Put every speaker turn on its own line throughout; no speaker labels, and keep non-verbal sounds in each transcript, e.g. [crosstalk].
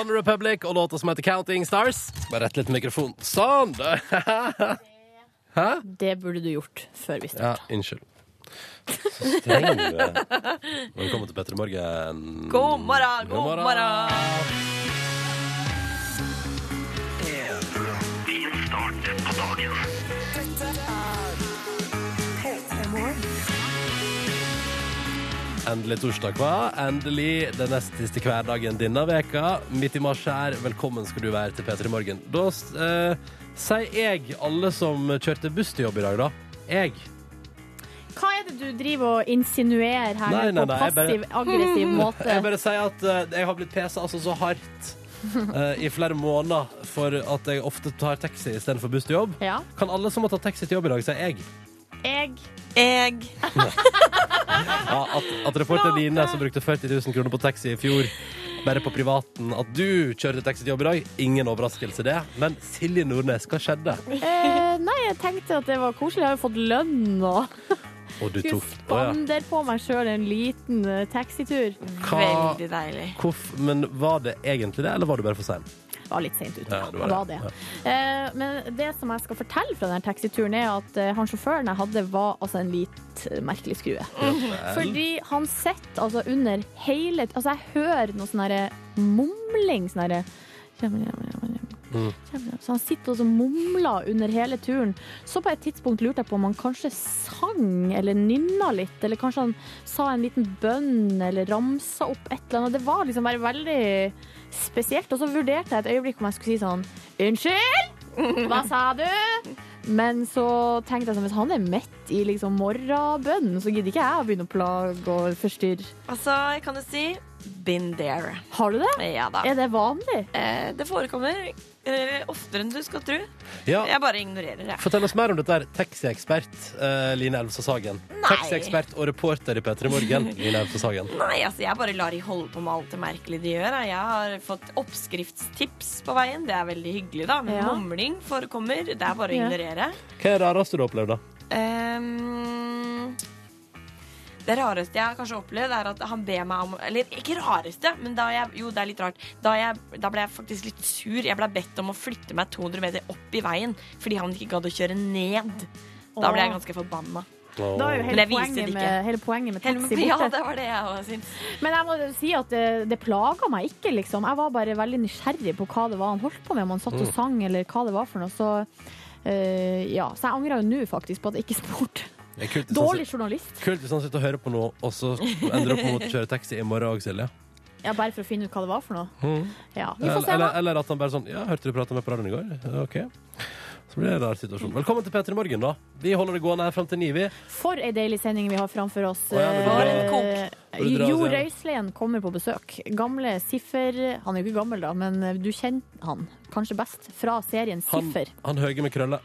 One Republic og låta som heter Counting Stars. Bare rett litt mikrofon. Sånn! [laughs] der.
Det burde du gjort før vi
Ja,
starter.
unnskyld. Så streng du er. Velkommen til Petter i morgen.
God morgen,
God morgen. Endelig torsdag, hva? Endelig den nest siste hverdagen denne veka. Midt i mars her. Velkommen skal du være til P3 Morgen. Da eh, sier jeg alle som kjørte buss til jobb i dag, da. Jeg.
Hva er det du driver og insinuerer her
Nei, nei,
på
nei, jeg bare-
passiv, aggressiv måte?
[laughs] Jeg bare sier at eh, jeg har blitt pesa altså så hardt eh, i flere måneder for at jeg ofte tar taxi istedenfor buss til jobb.
Ja.
Kan alle som har tatt taxi til jobb i dag, si jeg?
Jeg
Jeg
Ja, at, at reporter Line, som brukte 40 000 kroner på taxi i fjor, bare på privaten, at du kjørte taxi til jobb i dag, ingen overraskelse det. Men Silje Nordnes, hva skjedde?
eh, Nei, jeg tenkte at det var koselig. Jeg har jo fått lønn og
Og du
skulle
tok Å ja.
spandere på meg sjøl en liten eh, taxitur.
Hva-
Veldig deilig.
Hvorf- men var det egentlig det, eller var du bare for sein?
var litt seint ute.
Ja, det var
det var det.
det.
Eh, men det som jeg skal fortelle fra denne taxituren, er at eh, han sjåføren jeg hadde, var altså en litt eh, merkelig skrue. Fordi han sitter altså under hele Altså, jeg hører noe sånn herre mumling. Sånn herre «Kjem igjen, kjem igjen, kjem
Mm.
igjen, kjem igjen». så han sitter og så mumler under hele turen. Så på et tidspunkt lurte jeg på om han kanskje sang eller nynna litt, eller kanskje han sa en liten bønn eller ramsa opp et eller annet. Det var liksom bare veldig spesielt. Og så vurderte jeg et øyeblikk om jeg skulle si sånn Unnskyld, hva sa du? Men så tenkte jeg sånn, hvis han er mett i liksom morgenbønnen, så gidder ikke jeg å begynne å plage og forstyrre.
Altså, jeg kan jo si been there.
Har du det?
Ja da.
Er det vanlig?
Eh, Det forekommer eh, oftere enn du skal tro.
Ja.
Jeg bare ignorerer det.
Fortell oss mer om dette. her. Taxiekspert eh, Line Elvstad Sagen. Taxiekspert og reporter i P3
[laughs]
Morgen. Line Elvstad Sagen.
Nei, altså, jeg bare lar de holde på med alt det merkelige de gjør. da. Jeg har fått oppskriftstips på veien. Det er veldig hyggelig, da. Men
Ja.
mumling forekommer. Det er bare å
Ja.
ignorere.
Hva er det rareste du har opplevd, da?
Ehm, det rareste jeg har kanskje opplevd, er at han ber meg om Eller ikke rareste, men da jeg Jo, det er litt rart. Da, jeg, da ble jeg faktisk litt sur. Jeg ble bedt om å flytte meg 200 meter opp i veien fordi han ikke gadd å kjøre ned. Da ble jeg ganske forbanna.
Da er jo
Åh.
hele
Men jeg viste
poenget
det
med, hele poenget med taxi borte.
[laughs] Ja, det var det jeg òg syns.
Men jeg må si at det, det plaga meg ikke, liksom. Jeg var bare veldig nysgjerrig på hva det var han holdt på med, om han satt og sang, eller hva det var for noe. Så, eh, ja. så jeg angrer jo nå faktisk på at jeg ikke spurte.
Det er kult hvis han
Dårlig
sit-
journalist.
Kult hvis han sitter og hører på noe, og så ender opp med å måtte kjøre taxi i morgen òg, Silje.
Ja, bare for å finne ut hva det var for noe.
Mhm.
Ja, vi får
Eller,
se,
eller,
da.
eller at han bare sånn Ja, hørte du prata med på radioen i går? Ja, OK. Så blir det en rar situasjon. Velkommen til P3 Morgen, da. Vi holder det gående her fram til ni, vi.
For ei deilig sending vi har framfor oss.
Å, ja, vil du
dra-
Eh,
vil du dra
Jo
oss igjen?
Røiselien kommer på besøk. Gamle Siffer Han er jo ikke gammel, da, men eh, du kjenner han kanskje best fra serien
Han,
Siffer.
han høye med krøller.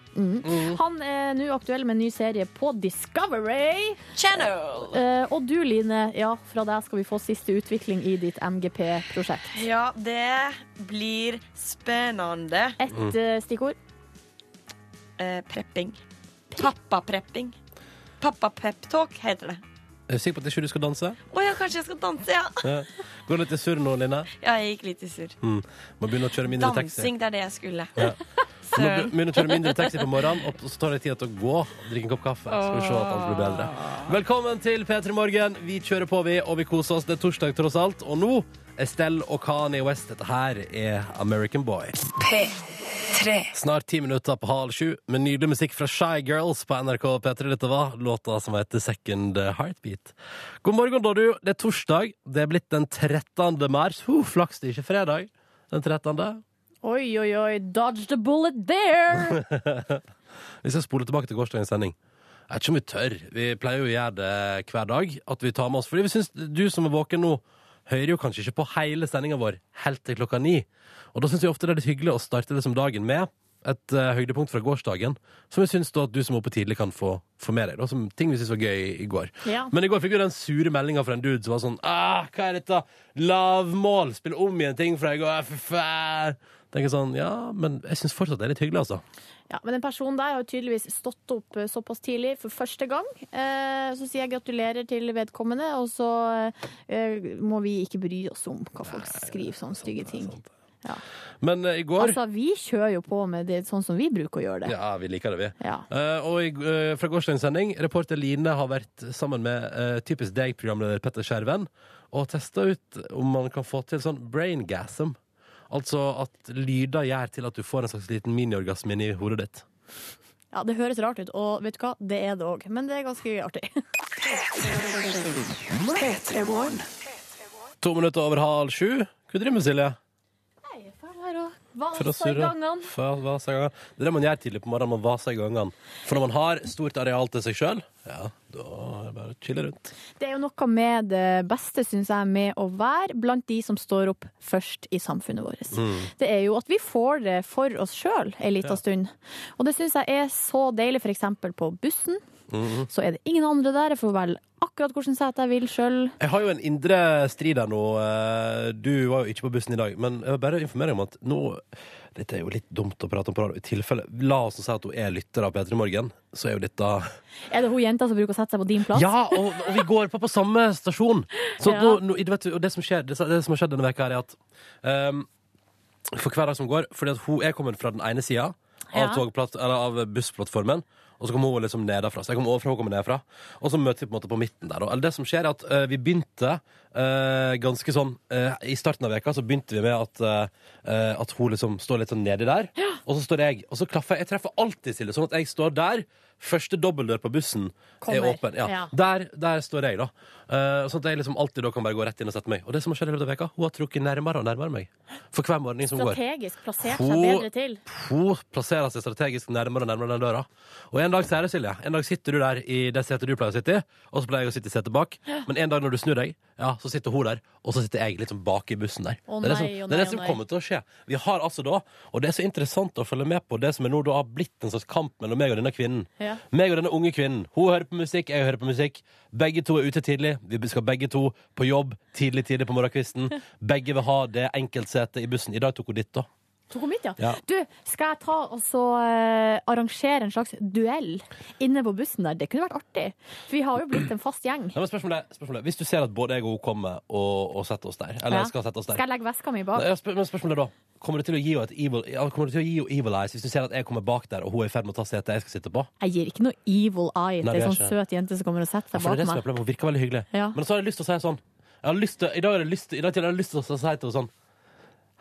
Han er nå aktuell med en ny serie på Discovery.
Channel!
Eh, og du, Line, ja, fra deg skal vi få siste utvikling i ditt MGP-prosjekt.
Ja, det blir spennende.
Ett
Mm.
eh, stikkord.
Eh, prepping. Pappaprepping. Pappapeptalk heter det.
Er du sikker på at ikke du skal danse?
Å ja, kanskje jeg skal danse, ja.
Ja. Går du litt i surr nå, Line?
Ja, jeg gikk litt i surr.
Mm. Må begynne å kjøre mindre taxi.
Dansing, det er det jeg skulle.
Ja. Nå
Søren.
begynner å kjøre mindre taxi på morgenen, og så tar det tid til å gå. Drikke en kopp kaffe. Skal vi se at alt blir bedre. Velkommen til P3 Morgen. Vi kjører på, vi, og vi koser oss. Det er torsdag, tross alt. Og nå Estelle og Kanye West. Dette her er American Boy. Snart ti minutter på halv sju med nydelig musikk fra Shy Girls på NRK P3. Dette var låta som heter Second Heartbeat. God morgen, da, du. Det er torsdag. Det er blitt den 13. mars. Huh, flaks det ikke er fredag. Den 13.
Oi, oi, oi. Dodge the bullet there!
Vi skal spole tilbake til gårsdagens sending. Jeg vet ikke om vi tør. Vi pleier jo å gjøre det hver dag. At vi tar med oss Fordi vi synes du som er våken nå, hører jo kanskje ikke på hele sendinga vår helt til klokka ni. Og da syns vi ofte det er litt hyggelig å starte liksom dagen med et eh, høydepunkt fra gårsdagen, som vi syns da at du som er oppe tidlig, kan få, få med deg. Da, som ting vi syns var gøy i går.
Ja.
Men i går fikk vi den sure meldinga fra en dude som var sånn ah, 'Hva er dette? Lavmål! Spille om igjen ting fra i går! Fy faen!' Tenker sånn, ja, men jeg syns fortsatt det er litt hyggelig, altså.
Ja, men den personen der har jo tydeligvis stått opp eh, såpass tidlig for første gang. Eh, Så sier jeg gratulerer til vedkommende, og så eh, må vi ikke bry oss om hva folk skriver sånne stygge ting. Ja.
Men eh, i går
Altså, vi kjører jo på med det sånn som vi bruker å gjøre det.
Ja, vi liker det, vi.
Ja.
Eh, og i, eh, fra gårsdagens sending, reporter Line har vært sammen med eh, typisk deg-programleder Petter Skjerven og testa ut om man kan få til sånn brain gasm. Altså at lyder gjør til at du får en slags liten miniorgasme inni hodet ditt.
ja, det høres rart ut, og vet du hva, det er det òg. Men det er ganske artig.
To minutter over halv sju. Hva driver du med, Silje?
Nei, jeg får her og
For å
Vasa i
surre.
gangene.
For å vase i gangene. Det er det man gjør tidlig på morgenen. Man vaser i gangene. For når man har stort areal til seg sjøl, ja, da er det bare å chille rundt.
Det er jo noe med det beste, syns jeg, med å være blant de som står opp først i samfunnet vårt.
Mm.
Det er jo at vi får det for oss sjøl ei lita stund. Og det syns jeg er så deilig, f.eks. på bussen.
Mm-hmm.
Så er det ingen andre der. Jeg får velge akkurat hvilket sete jeg vil sjøl.
Jeg har jo en indre strid her nå. Eh, Du var jo ikke på bussen i dag, men jeg vil bare informere om at nå Dette er jo litt dumt å prate om på radio. I tilfelle La oss si at hun er lytter av P3 Morgen, så er jo dette
Er det hun jenta som bruker å sette seg på din plass?
Ja, og, og vi går på på samme stasjon! Så
Ja.
nå, nå, du vet, og det som, skjer, det, som- det som har skjedd denne veka, her er at ehm, For hver dag som går Fordi at hun er kommet fra den ene sida av,
Ja.
togplatt- eller av bussplattformen. Og så kommer hun liksom nedafra. Så jeg kommer overfra, hun kommer nedafra. Og så møter vi på en måte på midten der. da. Eller det som skjer er at eh, vi begynte eh, ganske sånn eh, I starten av veka så begynte vi med at, eh, eh, at hun liksom står litt sånn nedi der. Og så står jeg. Og så klaffer jeg. Jeg treffer alltid Silje, sånn at jeg står der. Første dobbeltdør på bussen er
Kommer.
åpen. Ja.
Ja.
Der, der står jeg, da. Eh, sånn at jeg liksom alltid da kan bare gå rett inn og sette meg. Og det som har skjedd i løpet av veka, hun har trukket nærmere og nærmere meg. For hver morgen som går.
Strategisk plassert
Hun-
seg bedre til.
Hun plasserer seg strategisk nærmere og nærmere den døra. Og en dag sier det, Silje. En dag sitter du der i det setet du pleier å sitte i, og så pleier jeg å sitte i setet bak. Men en dag når du snur deg, ja, så sitter hun der, og så sitter jeg litt sånn bak i bussen der.
Å
det er det
nei,
som,
å
det er
nei, å
det som
nei.
kommer til å skje. Vi har altså da, og det er så interessant å følge med på, det som er nå da har blitt en slags kamp mellom meg og denne kvinnen.
Ja.
Meg og denne unge kvinnen. Hun hører på musikk, jeg hører på musikk. Begge to er ute tidlig. Vi skal begge to på jobb tidlig, tidlig på morgenkvisten.
[laughs]
Begge vil ha det enkeltsetet i bussen. I dag tok hun ditt, da.
Tok hun mitt, ja.
Ja.
Du, skal jeg ta og så eh, arrangere en slags duell inne på bussen der? Det kunne vært artig. For vi har jo blitt en fast gjeng.
Nei, men spørsmålet, er- spørsmålet er, Hvis du ser at både jeg og hun kommer og, og setter oss der Eller
Ja.
skal sette oss der
Skal jeg legge veska mi
Nei,
bak?
ja, spør, men spørsmålet er da Kommer du til å gi henne et evil, ja, kommer du til å gi henne evil eyes hvis du ser at jeg kommer bak der og hun er i ferd med å ta setet jeg skal sitte på?
Jeg gir ikke noe evil
Nei,
eye til ei
det
sånn
gjør ikke
søt jente som kommer og setter
For det
seg
er
bak
det som er
meg.
problemet. Hun virker veldig hyggelig.
Ja.
Men så har jeg lyst til å si sånn jeg har lyst til, I dag har jeg lyst til, i dag har jeg lyst til å si til henne sånn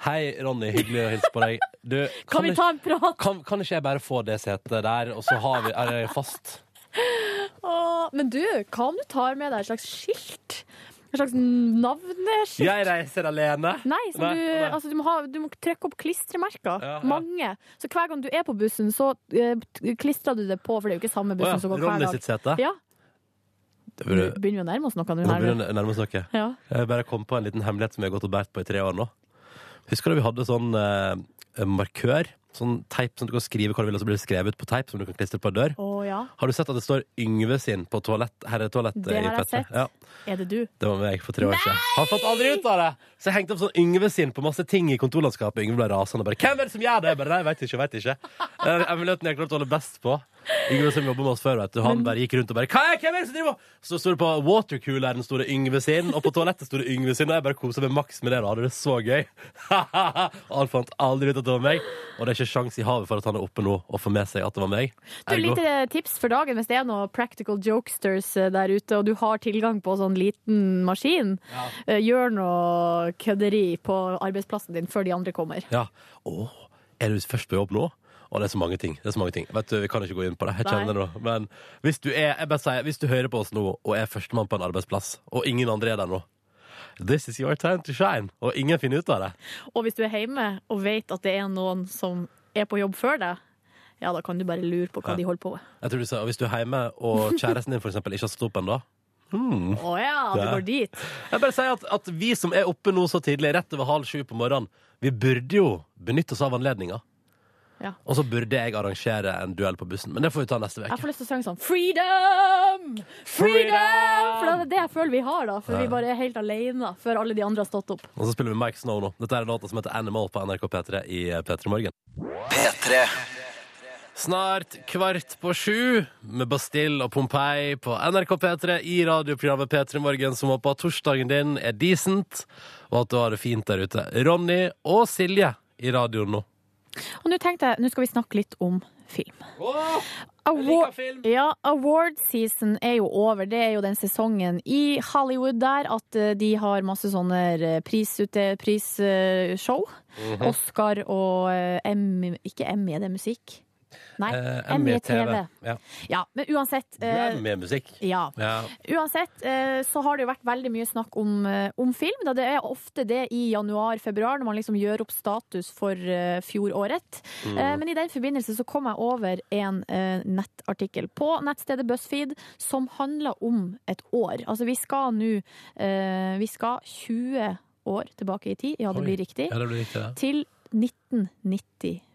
Hei, Ronny. Hyggelig å hilse på deg. Du,
[laughs] Kan vi
ikke-
ta en prat?
kan, kan ikke jeg bare få det setet der, og så har vi, er jeg fast?
Åh, Men du, hva om du tar med deg et slags skilt? Et slags navneskilt?
Jeg reiser alene.
Nei, som
Nei,
du,
nei.
Altså, du, må ha, du må trykke opp klistremerker.
Ja, ja.
Mange. Så hver gang du er på bussen, så eh, t- klistrer du det på, for det er jo ikke samme
Å
bussen
ja,
som går hver
Ronny
dag.
sitt sete.
Ja,
Det
Nå
burde-
begynner vi å nærme oss noe nå.
Nå
her.
begynner jeg å nærme oss noe.
Ja.
Jeg Eh, bare kom på en liten hemmelighet som jeg har gått og båret på i tre år nå. Husker du vi hadde sånn eh, markør? Sånn teip som du kan skrive hva du vil, og så blir det skrevet på teip som du kan klistre på en dør.
Å ja.
Har du sett at det står Yngve sin på toalett, herretoalett?
Det har jeg sett.
Ja,
Er det du?
det var meg for tre år siden. Han fant aldri ut av det! Så jeg hengte opp sånn Yngve sin på masse ting i kontorlandskapet. Yngve ble rasende og bare 'Hvem er det som gjør det?' Jeg bare, Nei, jeg vet ikke, jeg vet ikke. Det er hemmeligheten jeg har klart å holde best på. Yngve som jobber med oss før, vet du. Han bare gikk rundt og bare Hva er, hvem er det som driver og Så sto det på watercooleren sto det Yngve sin, og på toalettet sto det Yngve sin, og jeg bare kosa meg maks med det. Da hadde det så gøy. [laughs] og han fant aldri ut at det var meg. Og det er ikke sjans i havet for at han er oppe nå og får med seg at det var meg.
Du,
Ergo-
litt eh, tips for dagen hvis det er noen practical jokesters eh, der ute, og du har tilgang på sånn liten maskin. Eh, Gjør noe kødderi på arbeidsplassen din før de andre kommer.
Ja. Å, er du først på jobb nå? Å, det er så mange ting. Det er så mange ting. Vet du, Vi kan ikke gå inn på det. Jeg kjenner det nå. Men hvis du, er, jeg bare sier, hvis du hører på oss nå og er førstemann på en arbeidsplass, og ingen andre er der nå This is your time to shine. Og ingen finner ut av det.
Og hvis du er hjemme og vet at det er noen som er på jobb før deg, ja, da kan du bare lure på hva de holder på med.
Jeg tror du sa, og Hvis du er hjemme og kjæresten din for eksempel, ikke har stått opp ennå
Å ja, det
Mm. Ja.
går dit.
Jeg bare sier at, at vi som er oppe nå så tidlig, rett over halv sju på morgenen, vi burde jo benytte oss av anledninga.
Ja.
Og så burde jeg arrangere en duell på bussen, men det får vi ta neste
Jeg
uke.
får lyst til å synge sånn Freedom! Freedom! For det er det jeg føler vi har, da. For vi bare er helt alene før alle de andre har stått opp.
Og så spiller vi Mike Snow nå. Dette er en låt som heter Animal på NRK P3 i P3 Morgen.
P3
Snart kvart på sju med Bastille og Pompeii på NRK P3 i radioprogrammet P3 Morgen, som håper at torsdagen din er decent, og at du har det fint der ute. Ronny og Silje i radioen nå.
Og nå tenkte jeg, nå skal vi snakke litt om film.
liker film.
Ja, award season er jo over. Det er jo den sesongen i Hollywood der at eh, de har masse sånne eh, prisute, prisshow.
Mhm.
Oscar og eh, Emmy Ikke Emmy, er det musikk? Nei,
Eh,
Emmy er TV.
Ja.
Ja, men uansett
Du
E eh,
er E med musikk.
ja.
Ja.
Uansett eh, så har det jo vært veldig mye snakk om, eh, om film. Da det er ofte det i januar-februar, når man liksom gjør opp status for eh, fjoråret.
Mm.
Eh, men i den forbindelse så kom jeg over en eh, nettartikkel på nettstedet BuzzFeed som handler om et år. Altså vi skal nå eh, Vi skal 20 år tilbake i tid, ja det
Oi.
blir riktig,
Ja, det blir riktig, det.
til 1994.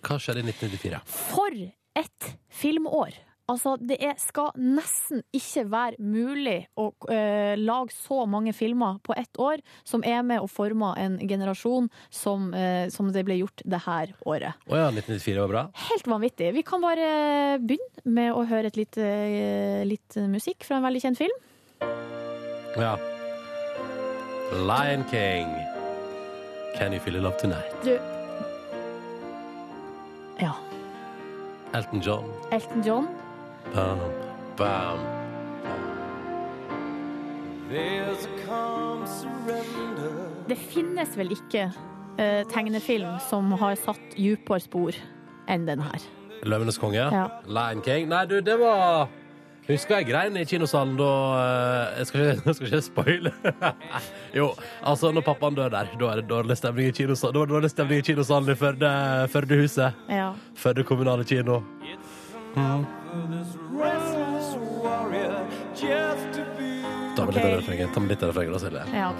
Hva skjedde i 1994?
For et filmår! Altså, det er, skal nesten ikke være mulig å eh, lage så mange filmer på ett år som er med og former en generasjon som, eh, som det ble gjort det her året.
Å ja, 1994 var bra.
Helt vanvittig. Vi kan bare eh, begynne med å høre et lite, eh, litt musikk fra en veldig kjent film.
Ja. Lion King. Can you feel the love tonight?
Du Ja.
Elton John.
Elton John.
Bam, bam.
Det finnes vel ikke eh, tegnefilm som har satt dypere spor enn den her.
Løvenes konge.
Ja.
Lion King. Nei, du, det var Husker jeg grein i kinosalen da eh, Jeg skal ikke, [laughs] jeg skal ikke spoile. jo, altså, når pappaen dør der, da er det dårlig stemning i kinosalen, da var det dårlig stemning i kinosalen i Førde, Førdehuset.
Ja.
Førde kommunale kino. Ta med litt av
Ok.
refrenget, ta med litt av refrenget, da, Silje.
Ja,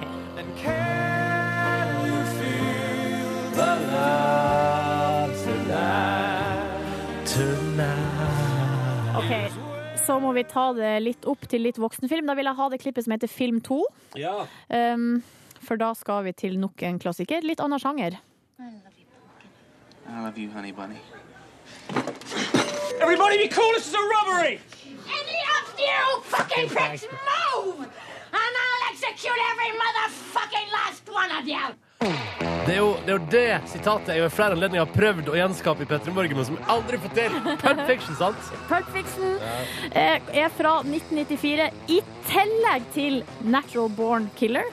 ok. Ok, Så må vi ta det litt opp til litt voksenfilm. Da vil jeg ha det klippet som heter Film 2.
Ja.
Um, for da skal vi til nok en klassiker. Litt annen sjanger.
I love you, honey bunny.
Everybody be cool, this is a robbery!
Any of you fucking pricks move! And I'll execute every motherfucking last one of you!
Det er, jo, det er jo det sitatet jeg ved flere anledninger har prøvd å gjenskape i Petter Morgen, men som jeg aldri får til. Pulp Fiction, sant?
Pulp Fiction eh, er fra 1994, i tillegg til Natural Born Killer.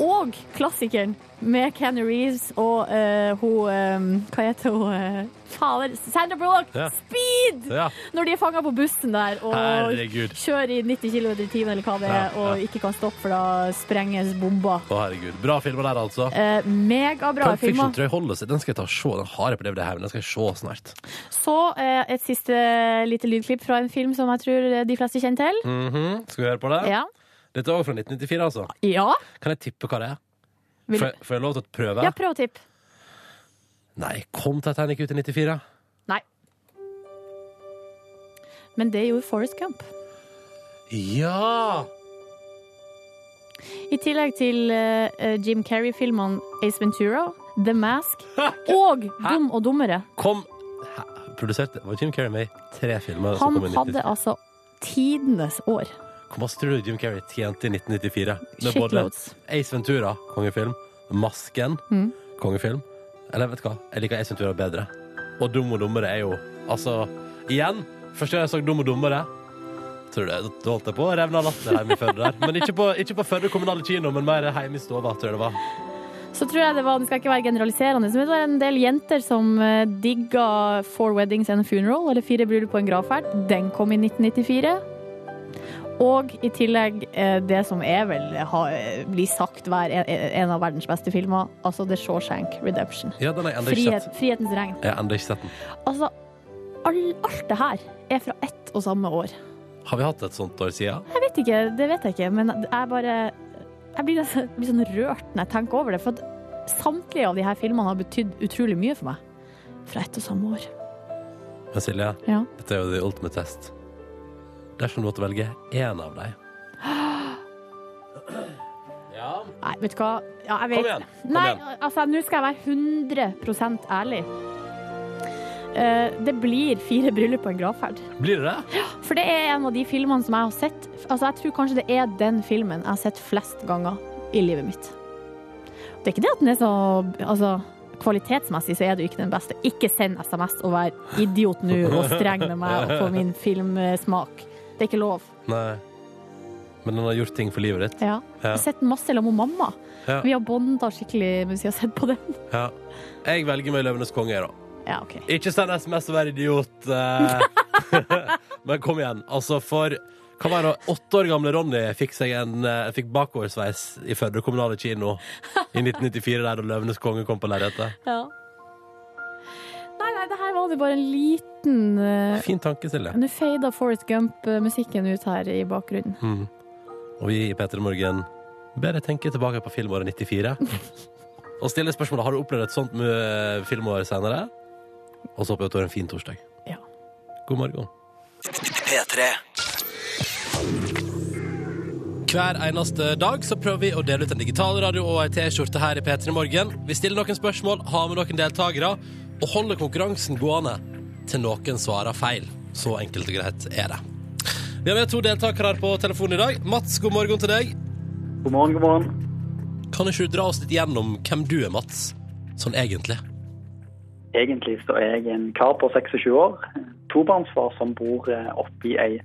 Og klassikeren med Kenny Reeves og eh, hun eh, Hva heter hun? eh, Fader, Sandra Bullock!
Ja.
Speed!
Ja.
Når de er fanga på bussen der og
Herregud.
kjører i 90 km i timen eller hva det er,
Ja, ja.
og ikke kan stoppe, for da sprenges bomba.
Å, herregud. Bra filmer der, altså.
Eh, megabra
Pulp Fiction
filmer.
tror jeg holder seg. Den skal jeg ta og se. Den har jeg på DVD her, men den skal jeg se snart.
Så eh, et siste lite lydklipp fra en film som jeg tror de fleste kjenner til.
Mhm. Skal vi høre på det?
Ja.
Dette er også fra 1994, altså.
ja.
Kan jeg tippe hva det er?
Vil...
Får jeg- får jeg lov til å prøve?
ja, prøv å tippe.
Nei, kom Titanic ut i 94?
Nei. Men det gjorde Forrest Gump.
Ja!
I tillegg til eh, eh, Jim Carrey-filmene Ace Ventura, The Mask og Dum og dummere.
Kom Hæ? Produserte var Jim Carrey med i tre filmer? som kom
Han
i 1994?
hadde altså tidenes år.
Hvor masse tror du Jim Carrey tjente i 1994? Med både
Shitloads. Mm.
Ace Ventura, kongefilm, Masken, kongefilm Eller vet du hva, jeg liker Ace Ventura bedre. Og Dum og dummere er jo Altså, igjen, første gang jeg så Dum og dummere Tror du det, Da holdt jeg på å revne av latter hjemme i Førde der. Men ikke på, ikke på Førde kommunale kino, men mer hjemme i stova, tror jeg det var.
Så tror jeg det var, det skal ikke være generaliserende, men det var en del jenter som eh, digga Four Weddings and a Funeral, eller Fire bryllup på en gravferd. Den kom i 1994. Og i tillegg eh, det som er vel har, eh, blir sagt hver en, en av verdens beste filmer, altså The Shawshank Redemption.
Ja, den har jeg enda ikke
Frihet,
sett.
frihetens regn.
Jeg har enda ikke sett den.
Altså, all, alt det her er fra ett og samme år.
Har vi hatt et sånt år siden?
Jeg vet ikke, det vet jeg ikke, men jeg bare Jeg blir nesten jeg blir sånn rørt når jeg tenker over det, for at samtlige av de her filmene har betydd utrolig mye for meg. fra ett og samme år.
Men Silje,
Ja.
dette er jo the ultimate test. Dersom du måtte velge én av dem Ja.
Nei, vet du hva? Ja, jeg vet.
Kom igjen, kom
Nei,
igjen.
altså, nå skal jeg være 100 ærlig. Eh, det blir fire bryllup og en gravferd.
Blir det det?
For det er en av de filmene som jeg har sett Altså, jeg tror kanskje det er den filmen jeg har sett flest ganger i livet mitt. Det er ikke det at den er så Altså, kvalitetsmessig så er det jo ikke den beste. Ikke send SMS og vær idiot nå og streng med meg på min filmsmak. Det er ikke lov.
Nei. Men den har gjort ting for livet ditt.
Ja. Jeg har sett masse sammen med mamma.
Ja.
Vi har bonda skikkelig mens vi har sett på den.
Ja. Jeg velger meg Løvenes konge, da.
Ja, OK.
Ikke send SMS og vær idiot. eh. [laughs] Men kom igjen. Altså, for hva var det, åtte år gamle Ronny fikk seg en eh, fikk bakoversveis i Førde kommunale kino i 1994, der da Løvenes konge kom på lerretet.
Ja. Nei, nei, det her var det bare en liten eh,
Fin tanke, Silje.
Nå fada Forest Gump-musikken ut her i bakgrunnen.
Og vi i P3 Morgen ber deg tenke tilbake på filmåret 94. Og stille spørsmålet har du opplevd et sånt eh, filmår senere. Og så håper jeg at du har en fin torsdag.
Ja.
God morgen. Hver eneste dag så prøver vi å dele ut en digital radio og ei T-skjorte her i P3 Morgen. Vi stiller noen spørsmål, har med noen deltakere, og holder konkurransen gående til noen svarer feil. Så enkelt og greit er det. Vi har med to deltakere her på telefonen i dag. Mats, god morgen til deg.
God morgen, god morgen.
Kan ikke du dra oss litt gjennom hvem du er, Mats? Sånn egentlig.
Egentlig så er jeg en kar på 26 år, tobarnsfar som bor eh, oppe i ei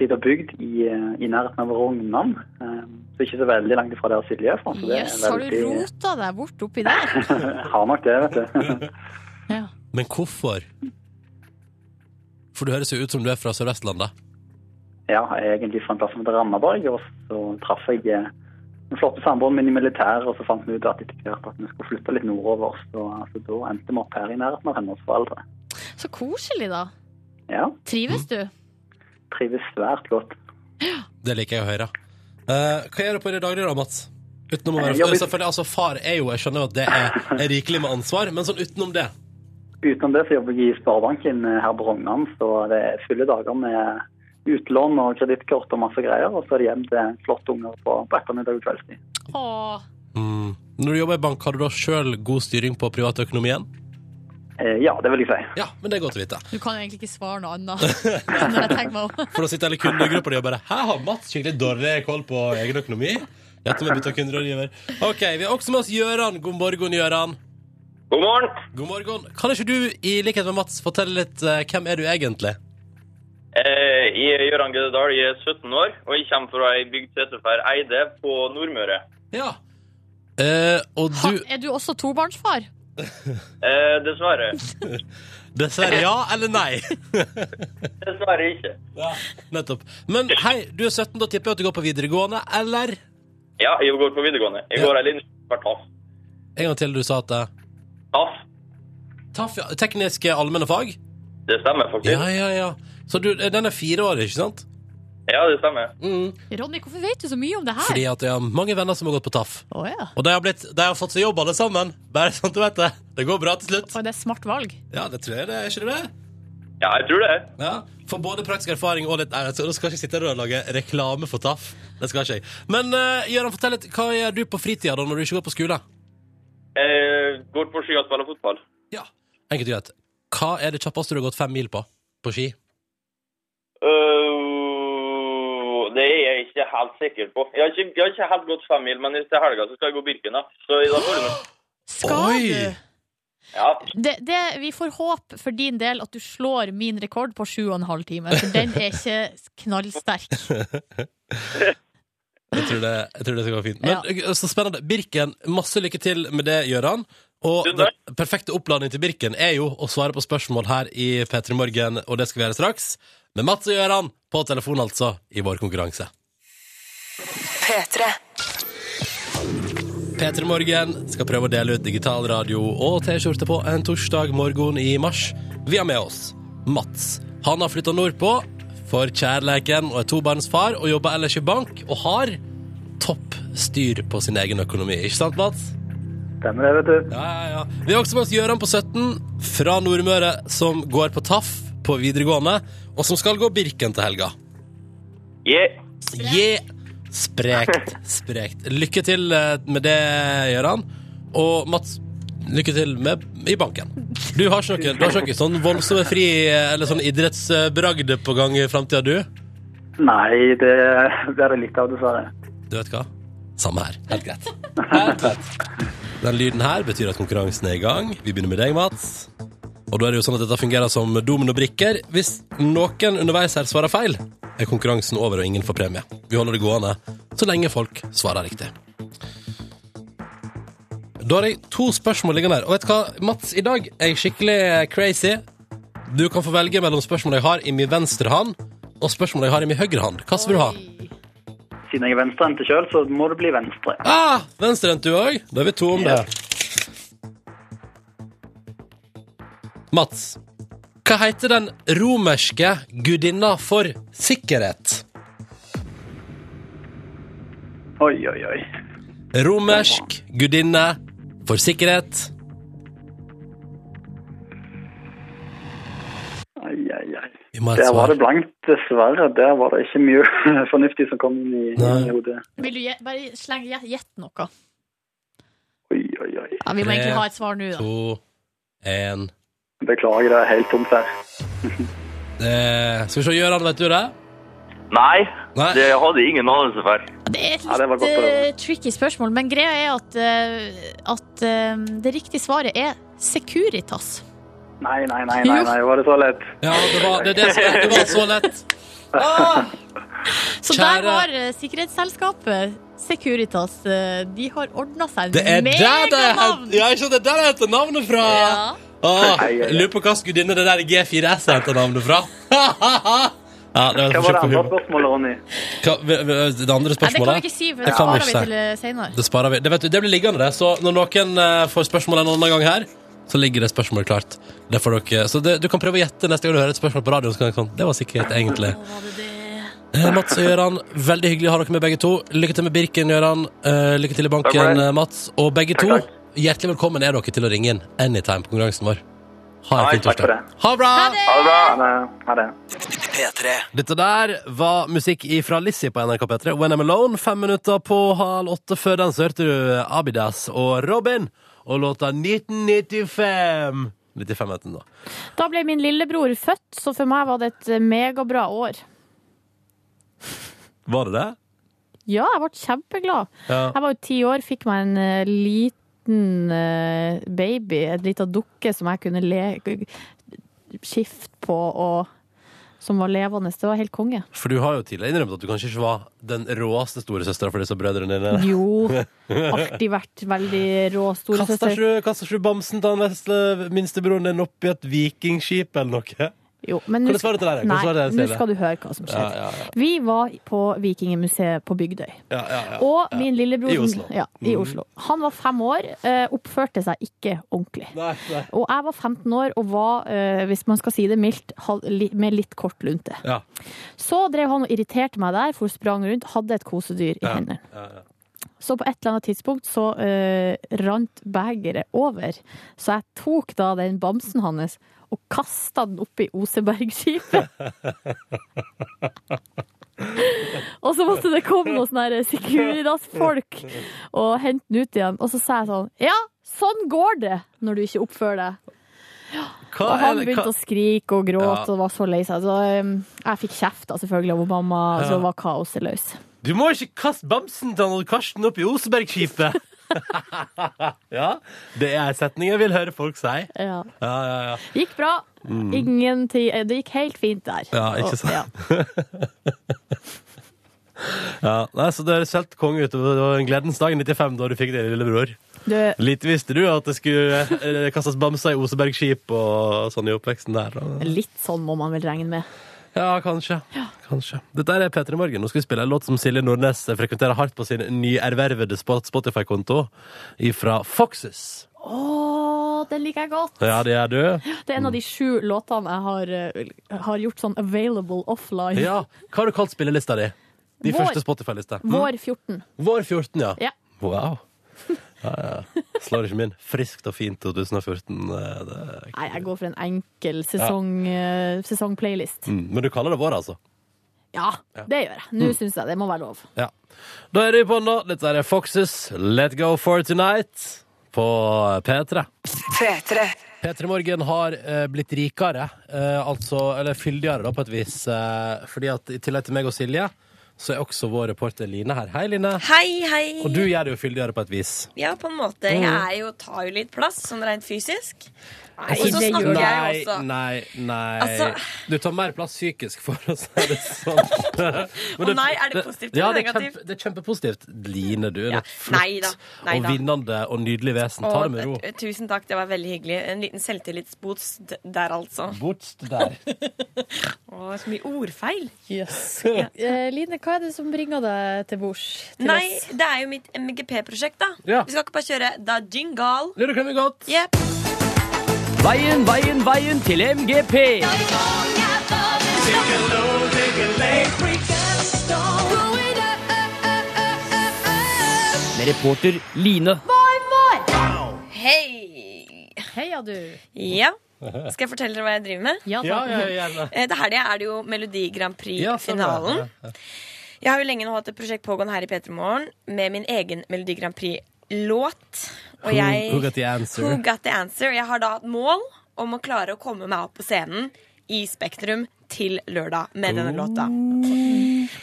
lita bygd i, eh, i nærheten av Rognan. Eh, Så ikke så veldig langt ifra der Silje er fra. så det er
Jøss, har du
veldig-
rota deg bort oppi der?
[laughs] Har nok det, vet du. [laughs]
Ja.
Men hvorfor? For du høres jo ut som du er fra Sør-Vestlandet.
Ja, jeg er egentlig fra en plass som heter Randaberg, og så traff jeg eh, den flotte samboeren min i militæret, og så fant vi ut at etter hvert at vi skulle flytte litt nordover, så så da endte vi opp her i nærheten av hennes foreldre.
Så koselig, da.
Ja,
Trives
Mm.
du?
trives svært godt.
Det liker jeg å høre. Eh, hva gjør du på i det daglige da, Mats? Utenom å være
Eh, jobber-
Selvfølgelig, altså Far er jo Jeg skjønner jo at det er, er rikelig med ansvar, men sånn utenom det.
Utenom det så jobber jeg i Sparebanken eh, her på Rognan, så det er fulle dager med utlån og kredittkort og masse greier. Og så er det hjem til flotte unger på, på ettermiddag og kveldstid.
Åh.
Mm. Når du jobber i bank, har du da sjøl god styring på privatøkonomien?
Eh, ja, det vil jeg si.
Ja, men det er godt å vite.
Du kan jo egentlig ikke svare noe
[laughs]
annet. Når jeg tenker meg om.
For da sitter hele kundegruppa di og bare Her har Mats skikkelig dårlig koll på egen økonomi. Dette må jeg bytte kunderådgiver. OK, vi har også med oss Gjøran. God morgen, Gjøran.
God morgen.
God morgen. Kan ikke du, i likhet med Mats, fortelle litt eh, hvem er du egentlig?
Eh, Jeg er Gøran Gødedal, jeg er 17 år, og jeg kommer fra ei bygd som heter for Eide på Nordmøre.
Ja. Eh, og
Ha,
du
er du også tobarnsfar?
Eh, dessverre.
Dessverre ja eller nei? [laughs]
Dessverre ikke.
Ja, nettopp. Men hei, du er 17, da tipper jeg at du går på videregående, eller?
Ja, jeg går på videregående. Jeg går ei linje som er TAF.
En gang til du sa at det
TAF,
TAF, ja, tekniske allmenne fag?
det stemmer faktisk.
Ja, ja, ja. Så du, eh, den er fire år, ikke sant?
Ja, det stemmer.
Mm.
Ronny, hvorfor vet du så mye om det her?
Fordi at jeg har mange venner som har gått på TAF.
Å ja.
Og de har, blitt, de har fått seg jobb alle sammen. Bare sånn at du vet det. Det går bra til slutt.
Og det er smart valg.
Ja, det tror jeg det. Er ikke det det?
Ja, jeg tror det.
Ja, For både praktisk erfaring og litt Nei, jeg skal ikke sitte her og lage reklame for TAF. Det skal ikke jeg. Men uh, Gøran, fortell litt, hva gjør du på fritida da når du ikke går på skole?
Jeg Eh, går på ski og spiller fotball.
Ja. Enkelt og greit. Hva er det kjappeste du har gått fem mil på? På ski?
Øh, det er jeg ikke helt sikker på. Jeg har ikke, jeg har ikke helt gått fem mil, men til helga så skal jeg gå Birken, da. Så da får du noe.
Skal
Oi!
du?
Ja,
Det, det, vi får håpe for din del at du slår min rekord på sju og en halv time, for den er ikke knallsterk.
Jeg tror det, jeg tror det skal gå fint. Men ok, så spennende. Birken, masse lykke til med det, Gøran. Og
Tusen
den
takk.
perfekte oppladningen til Birken er jo å svare på spørsmål her i P3 Morgen, og det skal vi gjøre straks. Med Mats og Gøran på telefon, altså, i vår konkurranse. P3 Morgen skal prøve å dele ut digital radio og T-skjorte på en torsdag morgen i mars. Vi har med oss Mats. Han har flytta nordpå for kjærleiken og er tobarnsfar og jobber ellers i bank og har topp styr på sin egen økonomi. Ikke sant, Mats?
Stemmer det, vet du.
Ja, ja, ja. Vi har også med oss Gøran på 17 fra Nordmøre, som går på TAF på videregående, og som skal gå Birken til helga.
Yeah.
Yeah. Sprekt. Sprekt. Lykke til eh, med det, Gøran. Og Mats, lykke til med i banken. Du har ikke noe, du har ikke noe sånn voldsomme fri eller sånn idrettsbragd på gang i framtida, du?
Nei, det blir det litt av, dessverre.
Du vet hva? Samme her. Helt greit. Helt greit. Den lyden her betyr at konkurransen er i gang. Vi begynner med deg, Mats. Og da er det jo sånn at dette fungerer som dominobrikker. Hvis noen underveis her svarer feil, er konkurransen over og ingen får premie. Vi holder det gående så lenge folk svarer riktig. Da har jeg to spørsmål liggende her. Og vet du hva, Mats, i dag er jeg skikkelig crazy. Du kan få velge mellom spørsmålet jeg har i min venstre hand, og spørsmålet jeg har i min høyre hand. Hva vil du ha?
Siden jeg er venstrehendt sjøl, så må det bli venstre.
Ah, venstrehendt du òg? Da er vi to om det. Mats, hva heter den romerske gudinna for sikkerhet?
Oi, oi, oi.
Romersk gudinne for sikkerhet.
Ai, ai, ai.
Vi må ha et
Der var
svar.
det blankt, dessverre. Der var det ikke mye [laughs] fornuftig som kom inn i,
Nei.
i hodet.
Vil du gje- bare slenge gje- gjett noe?
Oi, oi, oi.
Ja, vi må
Tre,
egentlig ha et svar nå, da.
To, én
Beklager, det er helt tomt her.
det... Skal vi se, Gøran, vet du det?
Nei,
Nei?
det hadde jeg ingen anelse for.
Det er et
Ja, det var
litt
godt å høre.
eh, tricky spørsmål, men greia er at, eh, at eh, det riktige svaret er Securitas.
Nei, nei, nei, nei, nei, var det så lett?
Ja, det var, det, er det, som er- det var så lett.
Så
Kjære-
der var eh, sikkerhetsselskapet Securitas. eh, de har ordna seg
Det
[laughs]
er der det
meganavn!
Ja, ikke sant, det er der det heter navnet fra!
Ja.
Åh,
Ai, ai, ai.
Ah, lurer på hva gudinne det der G4S henter navnet fra. [laughs] ja, det var
Hva var det andre
hva,
spørsmålet, Ronny?
v- v-
Nei, det
det andre
kan vi
spørsmålet?
ikke si, for
Det
det
kan
sparer
vi
vi
ikke si.
til eh, senere.
Det sparer vi. Det, vet du, det blir liggende, det. Så når noen eh, får spørsmål en annen gang her, så ligger det spørsmålet klart. Det får dere, så det, du kan prøve å gjette neste gang du hører et spørsmål på radioen. Så kan, du sånn, det var sikkerhet, egentlig. Eh, Mats og Gøran, veldig hyggelig å ha dere med, begge to. Lykke til med Birken, Gøran. Eh, lykke til i
Takk for
banken,
det.
eh, Mats. Og begge to,
Takk,
hjertelig velkommen er dere til å ringe inn anytime på konkurransen vår. Ha en
Nei,
fin
takk
for
torsdag. Ha det bra!
Ha det bra.
Ha det. Ha det.
Dette der var musikk ifra Lissi på NRK P3. When I'm Alone, fem minutter på halv åtte. Før den så hørte du Abidas og Robin og låta 1995. 95 het den da.
Da ble min lillebror født, så for meg var det et megabra år.
Var det det?
Ja, jeg ble kjempeglad.
Ja.
Jeg var jo ti år, fikk meg en eh, liten eh, baby, en lita dukke som jeg kunne le skifte på, og som var levende. Det var helt konge.
For du har jo tidligere innrømt at du kanskje ikke var den råeste storesøstera for disse brødrene dine. [laughs]
Jo, alltid vært veldig rå
Kaster
storesøster.
ikke du- kaster ikke du bamsen til han vesle minstebroren din oppi et vikingskip eller noe?
Jo, men
Kan
nå
du svare til det her? Kan du
Nei,
svare til det
nå
her, Silje?
skal du høre hva som skjedde.
Ja, ja, ja.
Vi var på Vikingemuseet på Bygdøy.
Ja, ja, ja.
Og min lillebror
I Oslo. Mm.
Ja, i Oslo. Han var fem år, eh, oppførte seg ikke ordentlig.
Nei, nei.
Og jeg var 15 år og var, eh, hvis man skal si det mildt, hal- li- med litt kort lunte.
Ja.
Så drev han og irriterte meg der, for sprang rundt, hadde et kosedyr i
Ja,
hendene.
ja, ja.
Så på et eller annet tidspunkt så eh, rant begeret over, så jeg tok da den bamsen hans og kasta den opp i Osebergskipet. [laughs] og så måtte det komme noen sånne her Securitas-folk og hente den ut igjen. Og så sa jeg sånn Ja, sånn går det når du ikke oppfører deg.
Hva er
Og han
det- hva-
begynte å skrike og
Ja.
gråte og var så lei seg. Så um, jeg fikk kjeft da, selvfølgelig av mamma, så
Ja.
var kaoset løs.
Du må ikke kaste bamsen til han Karsten opp i Osebergskipet! [laughs] ja, det er en setning jeg vil høre folk si. Ja,
Ja.
ja, ja.
Gikk bra. Ingenting eh, Det gikk helt fint der.
Mm. Ja, ikke
Og-
sant?
ja.
ja. Nei, så det høres helt konge ut. og Det var en gledens dag i 95 da du fikk din lillebror.
Du,
Lite visste du at det skulle eh, kastes bamser i Osebergskip og sånn i oppveksten der. da.
litt sånn må man vel regne med.
Ja, kanskje. kanskje. Dette er P3 Morgen. Nå skal vi spille en låt som Silje Nordnes frekventerer hardt på sin nyervervede spot- Spotify-konto, fra Foxes.
Å, den liker jeg godt!
Ja, det er du.
Det er en av de sju låtene jeg har, eh, har gjort sånn available offline.
Ja, Hva har du kalt spillelista di? De
Vår.
Mm. første Spotify-lista. Mm.
Vår 14.
Vår 14, ja.
Ja.
Wow. Ja, Slår ikke min. Friskt og fint 2014. eh, Det.
Nei, jeg går for en enkel sesong, eh, sesongplaylist.
Mm, Men du kaller det vår, altså?
Ja, det gjør jeg. Nå syns jeg det må være lov.
Ja. Da er det på den, da. Dette er Foxes Let Go For Tonight på eh, P3. P3 Morgen har eh, blitt rikere, eh, altså, eller fyldigere da, på et vis. Eh, fordi at i tillegg til meg og Silje, så er også vår reporter Line her. Hei, Line.
Hei, hei.
Og du Mm. gjør det jo fyldigere på et vis.
Ja, på en måte. Jeg er jo, tar jo litt plass, sånn rent fysisk.
Nei,
Og så
det gjør
snakker
du.
jeg
Nei,
også.
nei, nei.
Altså-
Du tar mer plass psykisk, for å si det sånn. Men
[laughs] Å nei, er det positivt
ja,
eller
det er
negativt?
Kjempe, det er kjempepositivt. Line, du er
Ja.
et flott
Nei da, nei
og
da.
vinnende og nydelig vesen. Ta det med ro.
Og, eh, Tusen takk, det var veldig hyggelig. En liten selvtillitsboost d- der, altså.
Bortst der.
Å, så mye ordfeil.
Eh, Line, hva er det som bringer deg til bords? til
Nei,
oss?
det er jo mitt MGP-prosjekt, da.
Ja.
Vi skal ikke bare kjøre da jingle.
Lurer hvem vi godt.
Yep.
Veien, veien, veien til MGP. Med reporter Line.
Hei!
Heia, du.
[laughs]
Ja. Skal jeg fortelle dere hva jeg driver med?
Ja,
Ja,
takk.
ja, gjerne.
Eh, Til helga er det jo Melodi Grand
Ja, sånn,
Prix-finalen.
ja, ja,
Jeg har jo lenge nå hatt et prosjekt pågående her i P3 Morgen med min egen Melodi Grand Prix-låt. Og
Who-
jeg
Who Got The Answer?
Who Got The Answer. Jeg har da et mål om å klare å komme meg opp på scenen i Spektrum til lørdag med denne låta.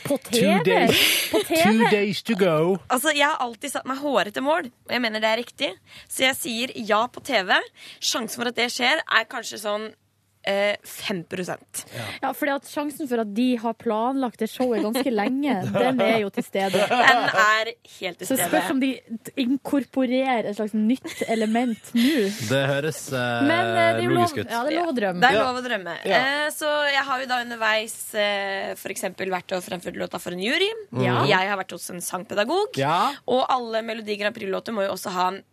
På
Two
TV!
days,
På
[laughs] two
TV!
days to go.
Altså, Jeg har alltid satt meg hårete mål, og jeg mener det er riktig. Så jeg sier ja på TV. Sjansen for at det skjer, er kanskje sånn eh, 5 Det
Ja, fordi at Sjansen for at de har planlagt det showet ganske lenge,
[laughs]
den er jo til stede.
Den er helt til
Så spørs
stede.
om de inkorporerer et slags nytt element nå.
Det høres eh,
Men eh, det er jo lov,
logisk ut.
Ehm, ja, det er lov å
Det
drømme.
er lov å drømme. Eh, så jeg har jo da underveis eh, f.eks. vært og fremført låta for en jury.
Mm. Ja.
Jeg har vært hos en sangpedagog.
Ja.
Og alle Melodi Grand Prix-låter må jo også ha en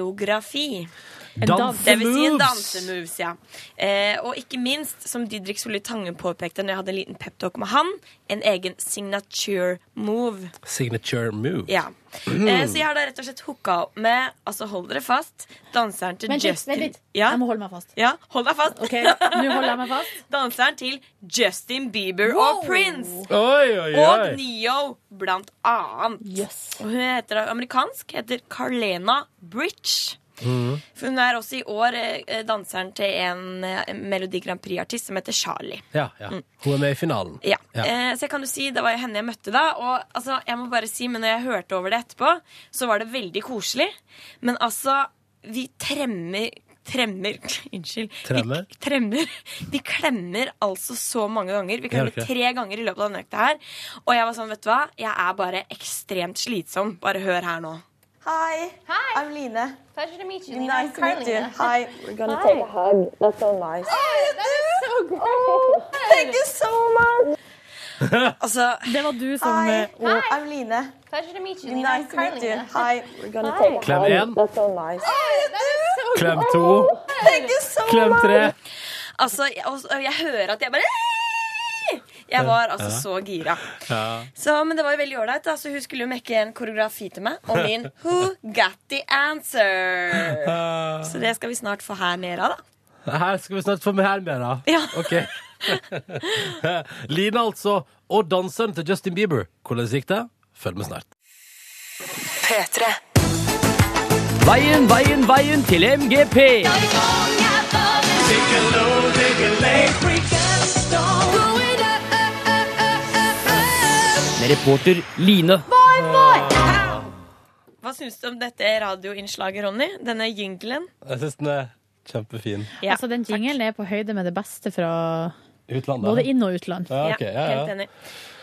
koreografi.
En
Dans.
dans.
Det vil si en
Moves.
dansemoves, ja. Eh, og ikke minst, som Didrik Solli Tangen påpekte når jeg hadde en liten peptalk med han, en egen signature move.
Signature move.
Ja. Eh, så jeg har da rett og slett hooka opp med, altså hold dere fast, danseren til
Vent litt,
Justin
vent litt.
Ja,
Jeg må holde meg fast.
ja, hold deg fast.
Ok, Nå holder jeg meg fast.
Danseren til Justin Bieber og Prince.
Oi, oi,
Og
oi.
Neo, blant annet.
Yes.
Og hun heter amerikansk, heter Carlena Bridge. For hun er også i år eh, danseren til en eh, Melodi Grand Prix-artist som heter Charlie.
Ja, ja. Hun er med i finalen.
Mm. Ja.
Ja.
Eh, så jeg kan jo si, Det var jo henne jeg møtte da. Og altså, jeg må bare si, men når jeg hørte over det etterpå, så var det veldig koselig. Men altså, vi tremmer Tremmer [laughs] Unnskyld.
Tremmer?
Vi, tremmer. vi klemmer altså så mange ganger. Vi
Gjør
klemmer
dere det?
tre ganger i løpet av denne økta her. Og jeg var sånn, vet du hva, jeg er bare ekstremt slitsom. Bare hør her nå. Hi.
Hi.
I'm Line.
Pleasure to meet you. Nina.
Nice to meet you. Hi. We're gonna
Hi. take
a hug. That's so nice.
so great. Oh,
Thank you so much. [laughs]
[laughs]
altså,
Det var du som eh,
Hi.
I'm Line.
Pleasure to meet you. Nina. I'm Carlina.
Hi. [laughs] We're gonna
Hi.
Klem én,
Oh, that is so
klem to, klem tre.
Altså, jeg, og- og jeg hører at jeg bare jeg var altså så gira. Så, men det var jo veldig ålreit. da, så hun skulle jo mekke en koreografi til meg om
[laughs]
min Who Got The Answer.
Eh,
Så det skal vi snart få her nede, da. [laughs]
her skal vi snart få med her mer, da.
Ja.
OK. [laughs] Line, altså. Og danseren til Justin Bieber. Hvordan gikk det? Følg med snart.
Veien, veien, veien til MGP. Med reporter Line.
Hva syns du om dette radioinnslaget, Ronny? Denne jinglen?
Jeg syns den er kjempefin.
Ja,
Altså, den jingelen er på høyde med det beste fra både
Utlandet.
inn- og utland.
Ja, ok, ja, Ah.
helt
ja.
enig.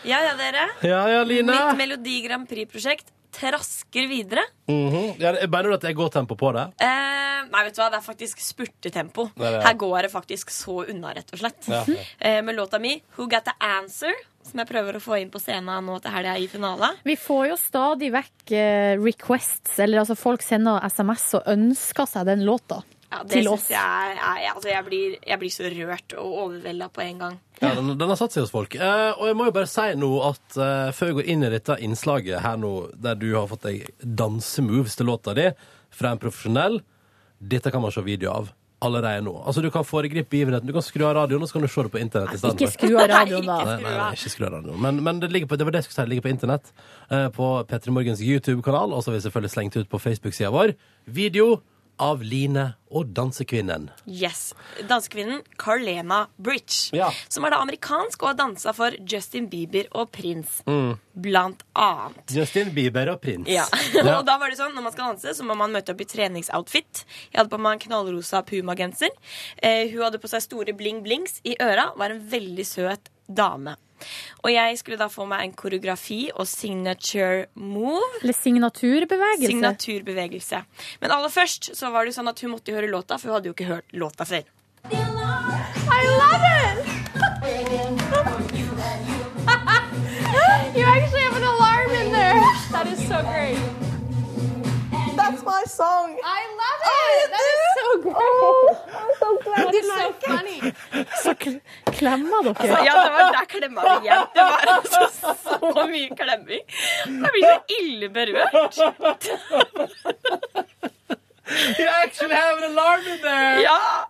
Ja ja, dere.
ja, ja,
Mitt
Line.
Melodi Grand Prix-prosjekt trasker videre.
Mhm. Ja, Mener du at det er godt tempo på det?
Eh, nei, vet du hva, det er faktisk spurtetempo.
Det er det, ja.
Her går det faktisk så unna, rett og slett.
Ja.
Eh, med låta mi Who Got The Answer, som jeg prøver å få inn på scenen nå til helga i finale.
Vi får jo stadig vekk eh, requests, eller altså folk sender SMS og ønsker seg den låta.
Ja, det
til
synes
oss.
Jeg, er- er- altså jeg, blir, jeg blir så rørt og overvelda på en gang.
Ja, den, den har satt seg hos folk. Eh, og jeg må jo bare si nå at eh, før jeg går inn i dette innslaget her nå, der du har fått deg dansemoves til låta di fra en profesjonell, dette kan man se video av allerede nå. Altså, du kan foregripe begivenheten. Du kan skru av radioen, og så kan du se det på internett i stedet.
Ikke skru av radioen, [laughs] da.
Nei, nei, nei, ikke skru av radioen. Men, men det, ligger på, det var det jeg skulle si, det ligger på internett. eh, på P3 Morgens YouTube-kanal, og så har vi selvfølgelig slengt ut på Facebook-sida vår. Video av Line og dansekvinnen.
Yes. Danskekvinnen Carlena Bridge,
Ja.
som er da amerikansk og har dansa for Justin Bieber og Prince,
Mm.
blant annet.
Justin Bieber og Prins.
Ja.
Ja.
[laughs] og da var det sånn, Når man skal danse, så må man møte opp i treningsoutfit. Jeg hadde på meg en knallrosa pumagenser. Eh, hun hadde på seg store bling-blings i øra. Var en veldig søt dame. Og jeg skulle da få meg en koreografi og signature move.
Eller signaturbevegelse.
Signaturbevegelse. Men aller først så var det jo sånn at hun måtte jo høre låta, for hun hadde jo ikke hørt låta før.
I love it! you actually have an alarm in there. That is so great. That's my song. I love it. that is so great. I'm so glad. That is so funny.
Så kl- klemmer dere.
Altså, ja, det var der klemma vi igjen. Det var altså så mye klemming. Jeg blir så ille berørt.
You actually have an alarm in there!
Ja!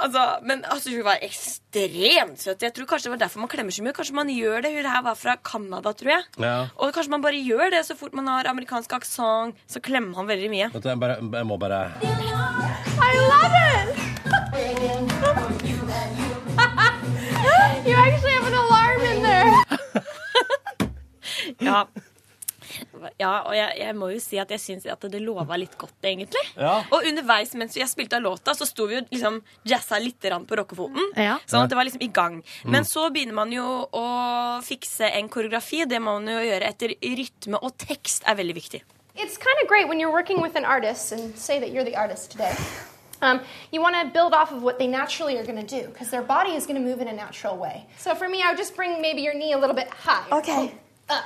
Altså, men altså, hun var ekstremt søt. Jeg tror kanskje det var derfor man klemmer så mye. Kanskje man gjør det. Hun her var fra Canada, tror jeg.
Ja.
Og kanskje man bare gjør det så fort man har amerikansk aksent, så klemmer han veldig mye.
Vet du, jeg, bare, jeg må bare
I love it. [laughs] you actually have an alarm in there.
Ja. Ja, og jeg, jeg må jo si at jeg syns at det lova litt godt, egentlig.
Ja.
Og underveis mens jeg spilte av låta, så sto vi jo liksom jazza litt grann på rockefoten.
Ja.
Sånn at det var liksom i gang. Men så begynner man jo å fikse en koreografi. Det må man jo gjøre etter rytme, og tekst er veldig viktig.
It's kind of great when you're working with an artist and say that you're the artist today. Um, you want to build off of what they naturally are going to do because their body is going to move in a natural way. So for me, I would just bring maybe your knee a little bit high. Oh,
Okay.
Up.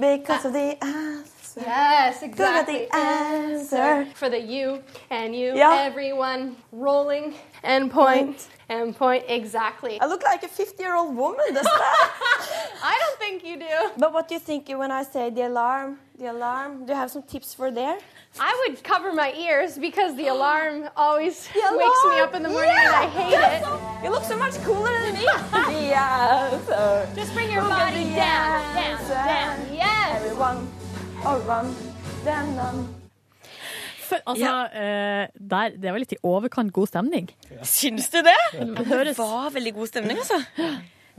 Because of the answer.
Yes,
Look at
exactly.
the answer.
For the you and you,
Yeah.
everyone rolling and point and point. Exactly.
I look like a 50 year old woman, doesn't [laughs] I?
[laughs] I don't think you do.
but what do you think when I say the alarm? The alarm? Do you have some tips for there?
I would cover my ears because
[gasps]
the alarm always wakes
alarm.
me up in the morning and I hate it.
You look so much cooler than me. the answer.
[laughs] Just bring your
Look at
body
the
down, down,
answer.
down. Yes.
Everyone around. Then, um,
For, altså, eh, der, det var litt i overkant god stemning.
Syns du det?
Det
Det
høres
var veldig god stemning, altså.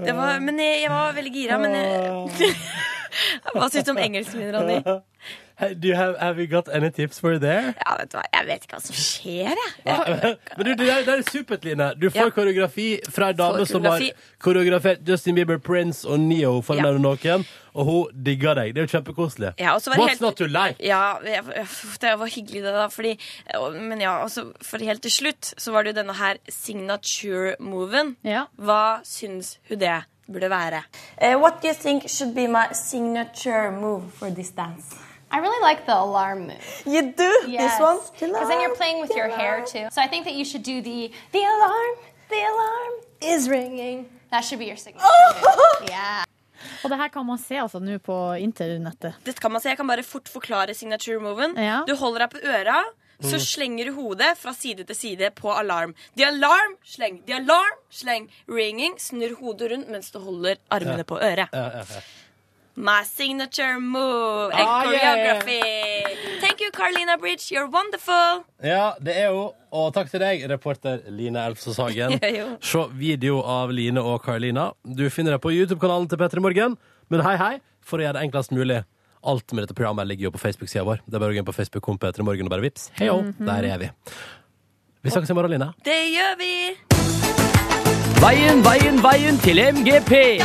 Det var, men jeg, jeg var veldig gira, men jeg, [laughs] Hva syns du om engelsken min, Ronny?
hey, do you have, have you got any tips for
[laughs]
there?
Ja, vet du hva, Jeg vet ikke hva som skjer, jeg.
Men du, det der, det der er supert, Line. Du får
Ja.
koreografi fra ei dame
Får
som har
koreografi.
koreografert Justin Bieber, Prince og Neo, for å
Ja.
nevne noen, og hun digger deg. Det er jo kjempekoselig.
Ja, og så var det
What's
helt-
not to like?
Ja, jeg- jeg- det var hyggelig det da, fordi Men ja, altså, for helt til slutt så var det jo denne her signature-moven.
Ja.
Hva syns hun det burde være?
uh, what do you think should be my signature move for this dance?
I really like the alarm move.
You do this one?
Because then you're playing with your hair too. So I think that you should do the the alarm, the alarm is ringing. That should be your signature.
Oh! [laughs]
move. Yeah.
Og det her kan man se altså nå på internettet.
Dette kan man se, Jeg kan bare fort forklare signature-moven.
Ja.
Du holder deg på øra, så slenger du hodet fra side til side på alarm. The alarm, sleng. The alarm, sleng. Ringing. Snurr hodet rundt mens du holder armene på øret. My signature move and
Ah, yeah.
choreography. Thank you, Carlina Bridge. You're wonderful.
Ja, det er hun. Og takk til deg, reporter Line Elfsås Hagen.
[laughs] Ja, jo.
Se video av Line og Carlina. Du finner det på YouTube-kanalen til Petter i Morgen. Men hei, hei, for å gjøre det enklest mulig. Alt med dette programmet ligger jo på Facebook-sida vår. Det er bare å gå inn på Facebook kom Petter i Morgen og bare vips. Hei jo,
Mhm.
der er vi. Vi snakkes i morgen, Line.
Det gjør vi.
Veien, veien, veien til MGP.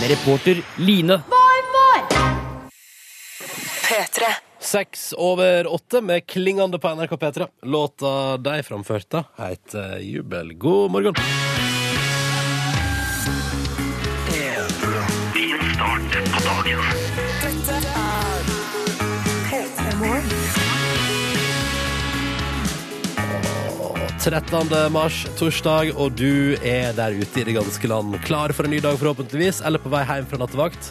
Med reporter Line.
Seks over åtte med klingende på NRK P3. Låta de framførte, heter Jubel. God morgen.
Din start
13. mars, torsdag, og du er der ute i det ganske land. Klar for en ny dag, forhåpentligvis, eller på vei hjem fra nattevakt.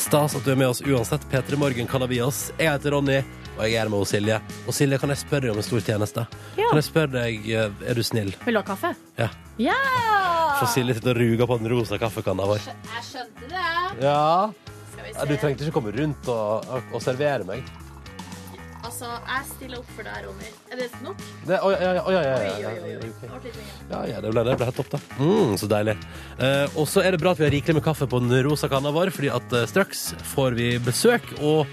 Stas at du er med oss uansett. P3 Morgen kaller vi oss. Jeg heter Ronny, og jeg er med hos Silje. Og Silje, kan jeg spørre deg om en stor tjeneste?
Ja.
Kan jeg spørre deg, eh, er du snill?
Vil du ha kaffe?
Ja.
Ja!
For Silje sitter og ruger på den rosa kaffekanna vår.
Jeg skjønte det.
Ja.
Skal vi
Ja, Du trengte ikke komme rundt og, og, og servere meg.
Altså, jeg stiller opp for deg, Ronny. Er det nok?
Det, oi, oi, oi, oi, oi, oi, oi, oi. Ja, ja, det ble, det ble helt topp, det. Mm, så deilig. Eh, og så er det bra at vi har rikelig med kaffe på den rosa kanna vår, fordi at eh, straks får vi besøk, og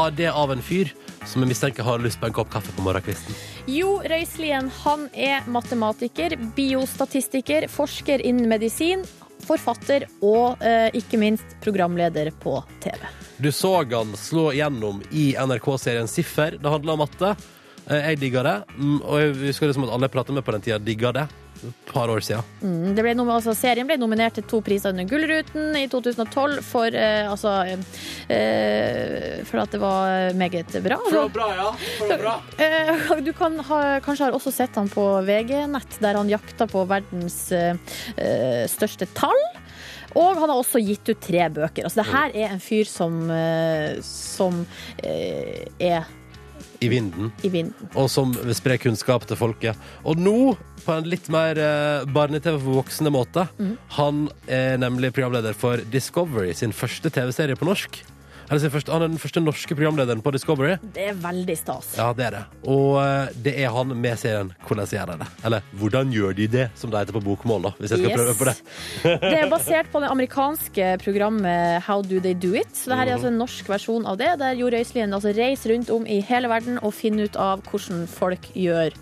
av det av en fyr som jeg mistenker har lyst på en kopp kaffe på morgenkvisten.
Jo Røiselien han er matematiker, biostatistiker, forsker innen medisin, forfatter og eh, ikke minst programleder på TV.
Du så han slå gjennom i NRK-serien Siffer. Det handla om matte. Eh, jeg digga det, mm, og jeg husker liksom at alle jeg prata med på den tida, digga det. Et par år sia.
Mm, det ble nom- altså, serien ble nominert til to priser under Gullruten i 2012 for eh, altså eh, eh, For at det var meget bra.
ja.
Eh, Du kan ha, kanskje har også sett han på VG-nett, der han jakta på verdens eh, eh, største tall. Og han har også gitt ut tre bøker. Altså, det her er en fyr som, eh, som eh, er
I vinden.
i vinden.
og som sprer kunnskap til folket. Og nå, på en litt mer eh, barne-TV for voksne måte, han er nemlig programleder for Discovery, sin første TV-serie på norsk. Eller sin første, han er den første norske programlederen på Discovery.
Det er veldig stas.
Ja, det er det. Og eh, det er han med serien 'Hvordan gjør de det?' Eller 'Hvordan gjør de det?', som det heter på bokmål, da, hvis jeg skal
Yes.
prøve på det.
Det er basert på det amerikanske programmet How Do They Do It. Så det her er altså en norsk versjon av det, der Jo Røiselien altså reiser rundt om i hele verden og finner ut av hvordan folk gjør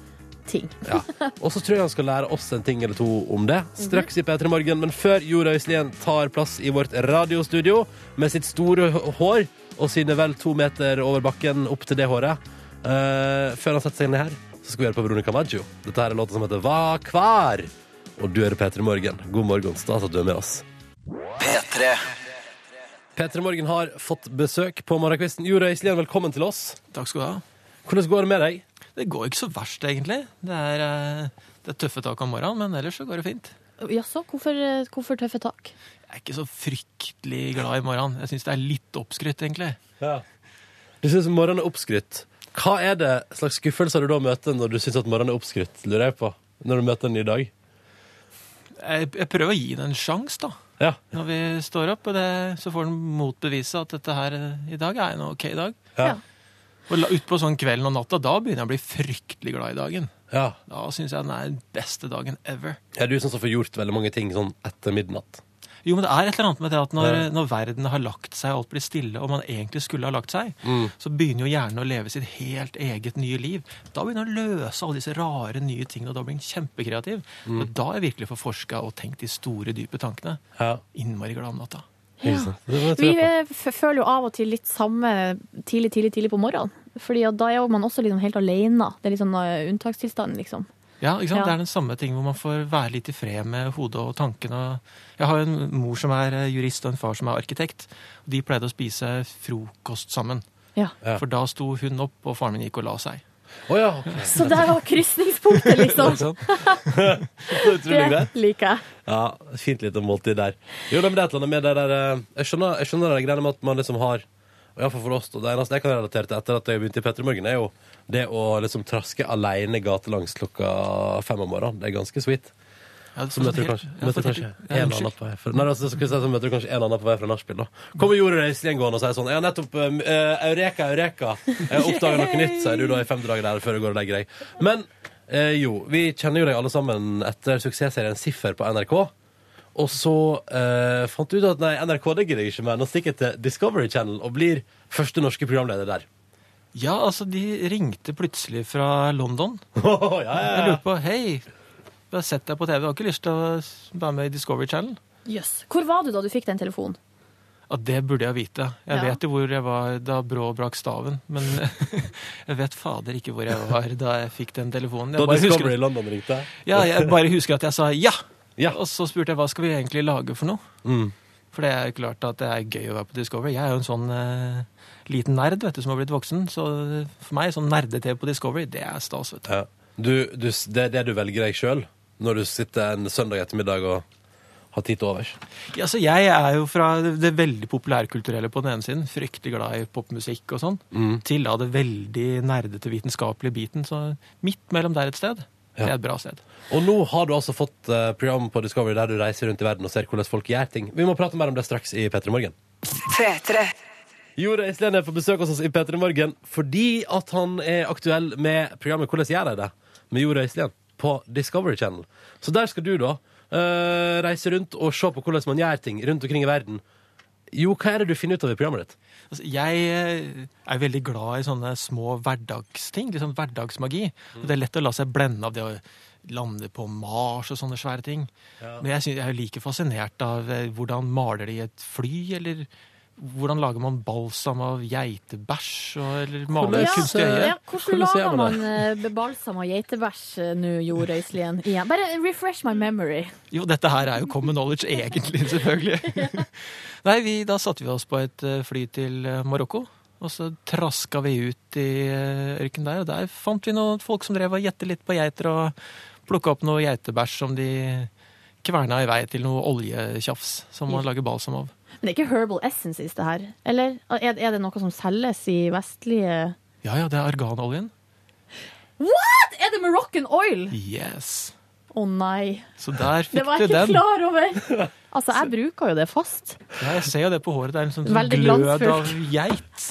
ting.
Ja. Og så tror jeg han skal lære oss en ting eller to om det straks i P3 Morgen. Men før Jord Øyslien tar plass i vårt radiostudio med sitt store h- hår og sine vel to meter over bakken opp til det håret, eh, før han setter seg ned her, så skal vi høre på Veronica Maggio. Dette her er låta som heter Hva kvar? Og du hører P3 Morgen. God morgen. Stas at du er med oss.
P3.
P3 Morgen har fått besøk på morgenkvisten. Jord Øyslien, velkommen til oss.
Takk skal du ha.
Hvordan går det med deg?
Det går ikke så verst, egentlig. Det er, eh, det er tøffe tak om morgenen, men ellers så går det fint.
Jaså, hvorfor, eh, hvorfor tøffe tak?
Jeg er ikke så fryktelig glad i morgenen. Jeg syns det er litt oppskrytt, egentlig.
Du syns morgenen er oppskrytt. Hva er det slags skuffelser du da møter når du syns at morgenen er oppskrytt? Lurer jeg på. Når du møter den i dag.
Jeg, jeg prøver å gi den en sjanse, da. Når vi står opp, og det, så får den motbevise at dette her eh, i dag er en ok dag.
Ja.
Og la- Utpå sånn kvelden og natta, da begynner jeg å bli fryktelig glad i dagen.
Ja.
Da syns jeg den er den beste dagen ever.
Er du sånn som får gjort veldig mange ting sånn etter midnatt?
Jo, men det er et eller annet med det at når,
Ja.
når verden har lagt seg, og alt blir stille, og man egentlig skulle ha lagt seg,
Mm.
så begynner jo hjernen å leve sitt helt eget nye liv. Da begynner den å løse alle disse rare nye tingene, og da blir den kjempekreativ.
Mm.
Og da er jeg virkelig forforska og tenkt de store, dype tankene. Innmari glad om natta.
Vi eh, f- føler jo av og til litt samme tidlig, tidlig, tidlig på morgenen. Fordi at da er jo man også liksom helt alene. Det er litt sånn eh, unntakstilstand, liksom.
Ja, ikke sant?
Ja.
Det er den samme ting hvor man får være litt i fred med hodet og tankene. og- Jeg har jo en mor som er eh, jurist og en far som er arkitekt. og De pleide å spise frokost sammen.
Ja.
For da sto hun opp, og faren min gikk og la seg.
Oh, ja.
Så der var krysningspunktet, liksom. Det liker jeg.
Ja, fint lite måltid der. Jo, da, men det er et eller annet med det der eh, Jeg skjønner, jeg skjønner det greiene med at man liksom har og i hvert fall for oss, og Det eneste jeg kan relatere til etter at jeg begynte i Petter Morgen, er jo det å liksom traske alene gatelangs klokka fem om morgenen. Det er ganske sweet.
Ja,
så møter du
Altså, helt-
kanskje,
ja,
møter
for-
kanskje
ja,
en
unnskyld.
annen på vei fra Nei, altså, så, skulle jeg si, så møter du kanskje en annen på vei fra nachspiel, da. Kommer Jorunn Reisling gående og sier sånn Jeg har nettopp eh, Eureka, Eureka. Jeg oppdaga noe nytt, sier du da i fem dager der før du går og legger deg. Men eh, jo, vi kjenner jo deg alle sammen etter suksessserien Siffer på NRK. Og så eh, fant du ut at nei, NRK det gidder jeg ikke mer. Nå stikker jeg til Discovery Channel og blir første norske programleder der. [laughs]
Ja, altså, de ringte plutselig fra London.
ja, ja.
Jeg lurte på Hei, jeg har sett deg på TV, jeg har ikke lyst til å være med i Discovery Channel?
Jøss. Hvor var du da du fikk den telefonen?
Ja, det burde jeg vite. Jeg
Ja.
vet jo hvor jeg var da Brå brakk staven, men [laughs] jeg vet fader ikke hvor jeg var da jeg fikk den telefonen. Jeg
Da
bare husker-
Discovery London ringte.
Ja, jeg bare husker at jeg sa ja. Og så spurte jeg hva skal vi egentlig lage for noe.
Mm.
For det er jo klart at det er gøy å være på Discovery. Jeg er jo en sånn eh, liten nerd vet du, som har blitt voksen. Så for meg, sånn nerde-TV på Discovery, det er stas. vet du.
Ja. Du, du, det er det du velger deg sjøl når du sitter en søndag ettermiddag og har tid til overs?
Ja, så jeg er jo fra det veldig populærkulturelle på den ene siden, fryktelig glad i popmusikk og sånn,
Mm.
til da det veldig nerdete vitenskapelige biten. Så midt mellom der et sted. Det er et bra sted.
Og nå har du altså fått eh, program på Discovery der du reiser rundt i verden og ser hvordan folk gjør ting. Vi må prate mer om det straks i P3 Morgen. Jore Islene får besøk hos oss i P3 Morgen fordi at han er aktuell med programmet Hvordan gjør de det? med Jore Islene på Discovery Channel. Så der skal du da eh, reise rundt og se på hvordan man gjør ting rundt omkring i verden. Jo, hva er det du finner ut av i programmet ditt?
Altså, jeg eh, er veldig glad i sånne små hverdagsting, liksom hverdagsmagi. Og det er lett å la seg blende av det å lande på Mars og sånne svære ting.
Ja.
Men jeg, synes, jeg er jo like fascinert av eh, hvordan maler de et fly, eller hvordan lager man balsam av geitebæsj, og, eller maler
Ja,
kunstige øyer.
ja, hvordan lager man eh, balsam av geitebæsj eh, nå, Jo Røiselien? Igjen. Bare refresh my memory.
Jo, dette her er jo common knowledge, egentlig, selvfølgelig.
[laughs]
Nei, vi, da satte vi oss på et eh, fly til eh, Marokko, og så traska vi ut i eh, ørkenen der, og der fant vi noen folk som drev og gjette litt på geiter, og plukka opp noe geitebæsj som de kverna i vei til noe oljetjafs som man
Ja.
lager balsam av.
Men det er ikke Herbal Essences, det her? Eller er, er det noe som selges i vestlige
Ja ja, det er arganoljen.
What?! Er det Moroccan oil?!
Yes.
Å nei.
Så der
Det
fikk
var
du
jeg ikke
den.
klar over. [laughs] Altså, jeg bruker jo det fast.
Ja, jeg ser jo det på håret. Det er liksom sånn
Veldig
glød av
glansfullt.
geit.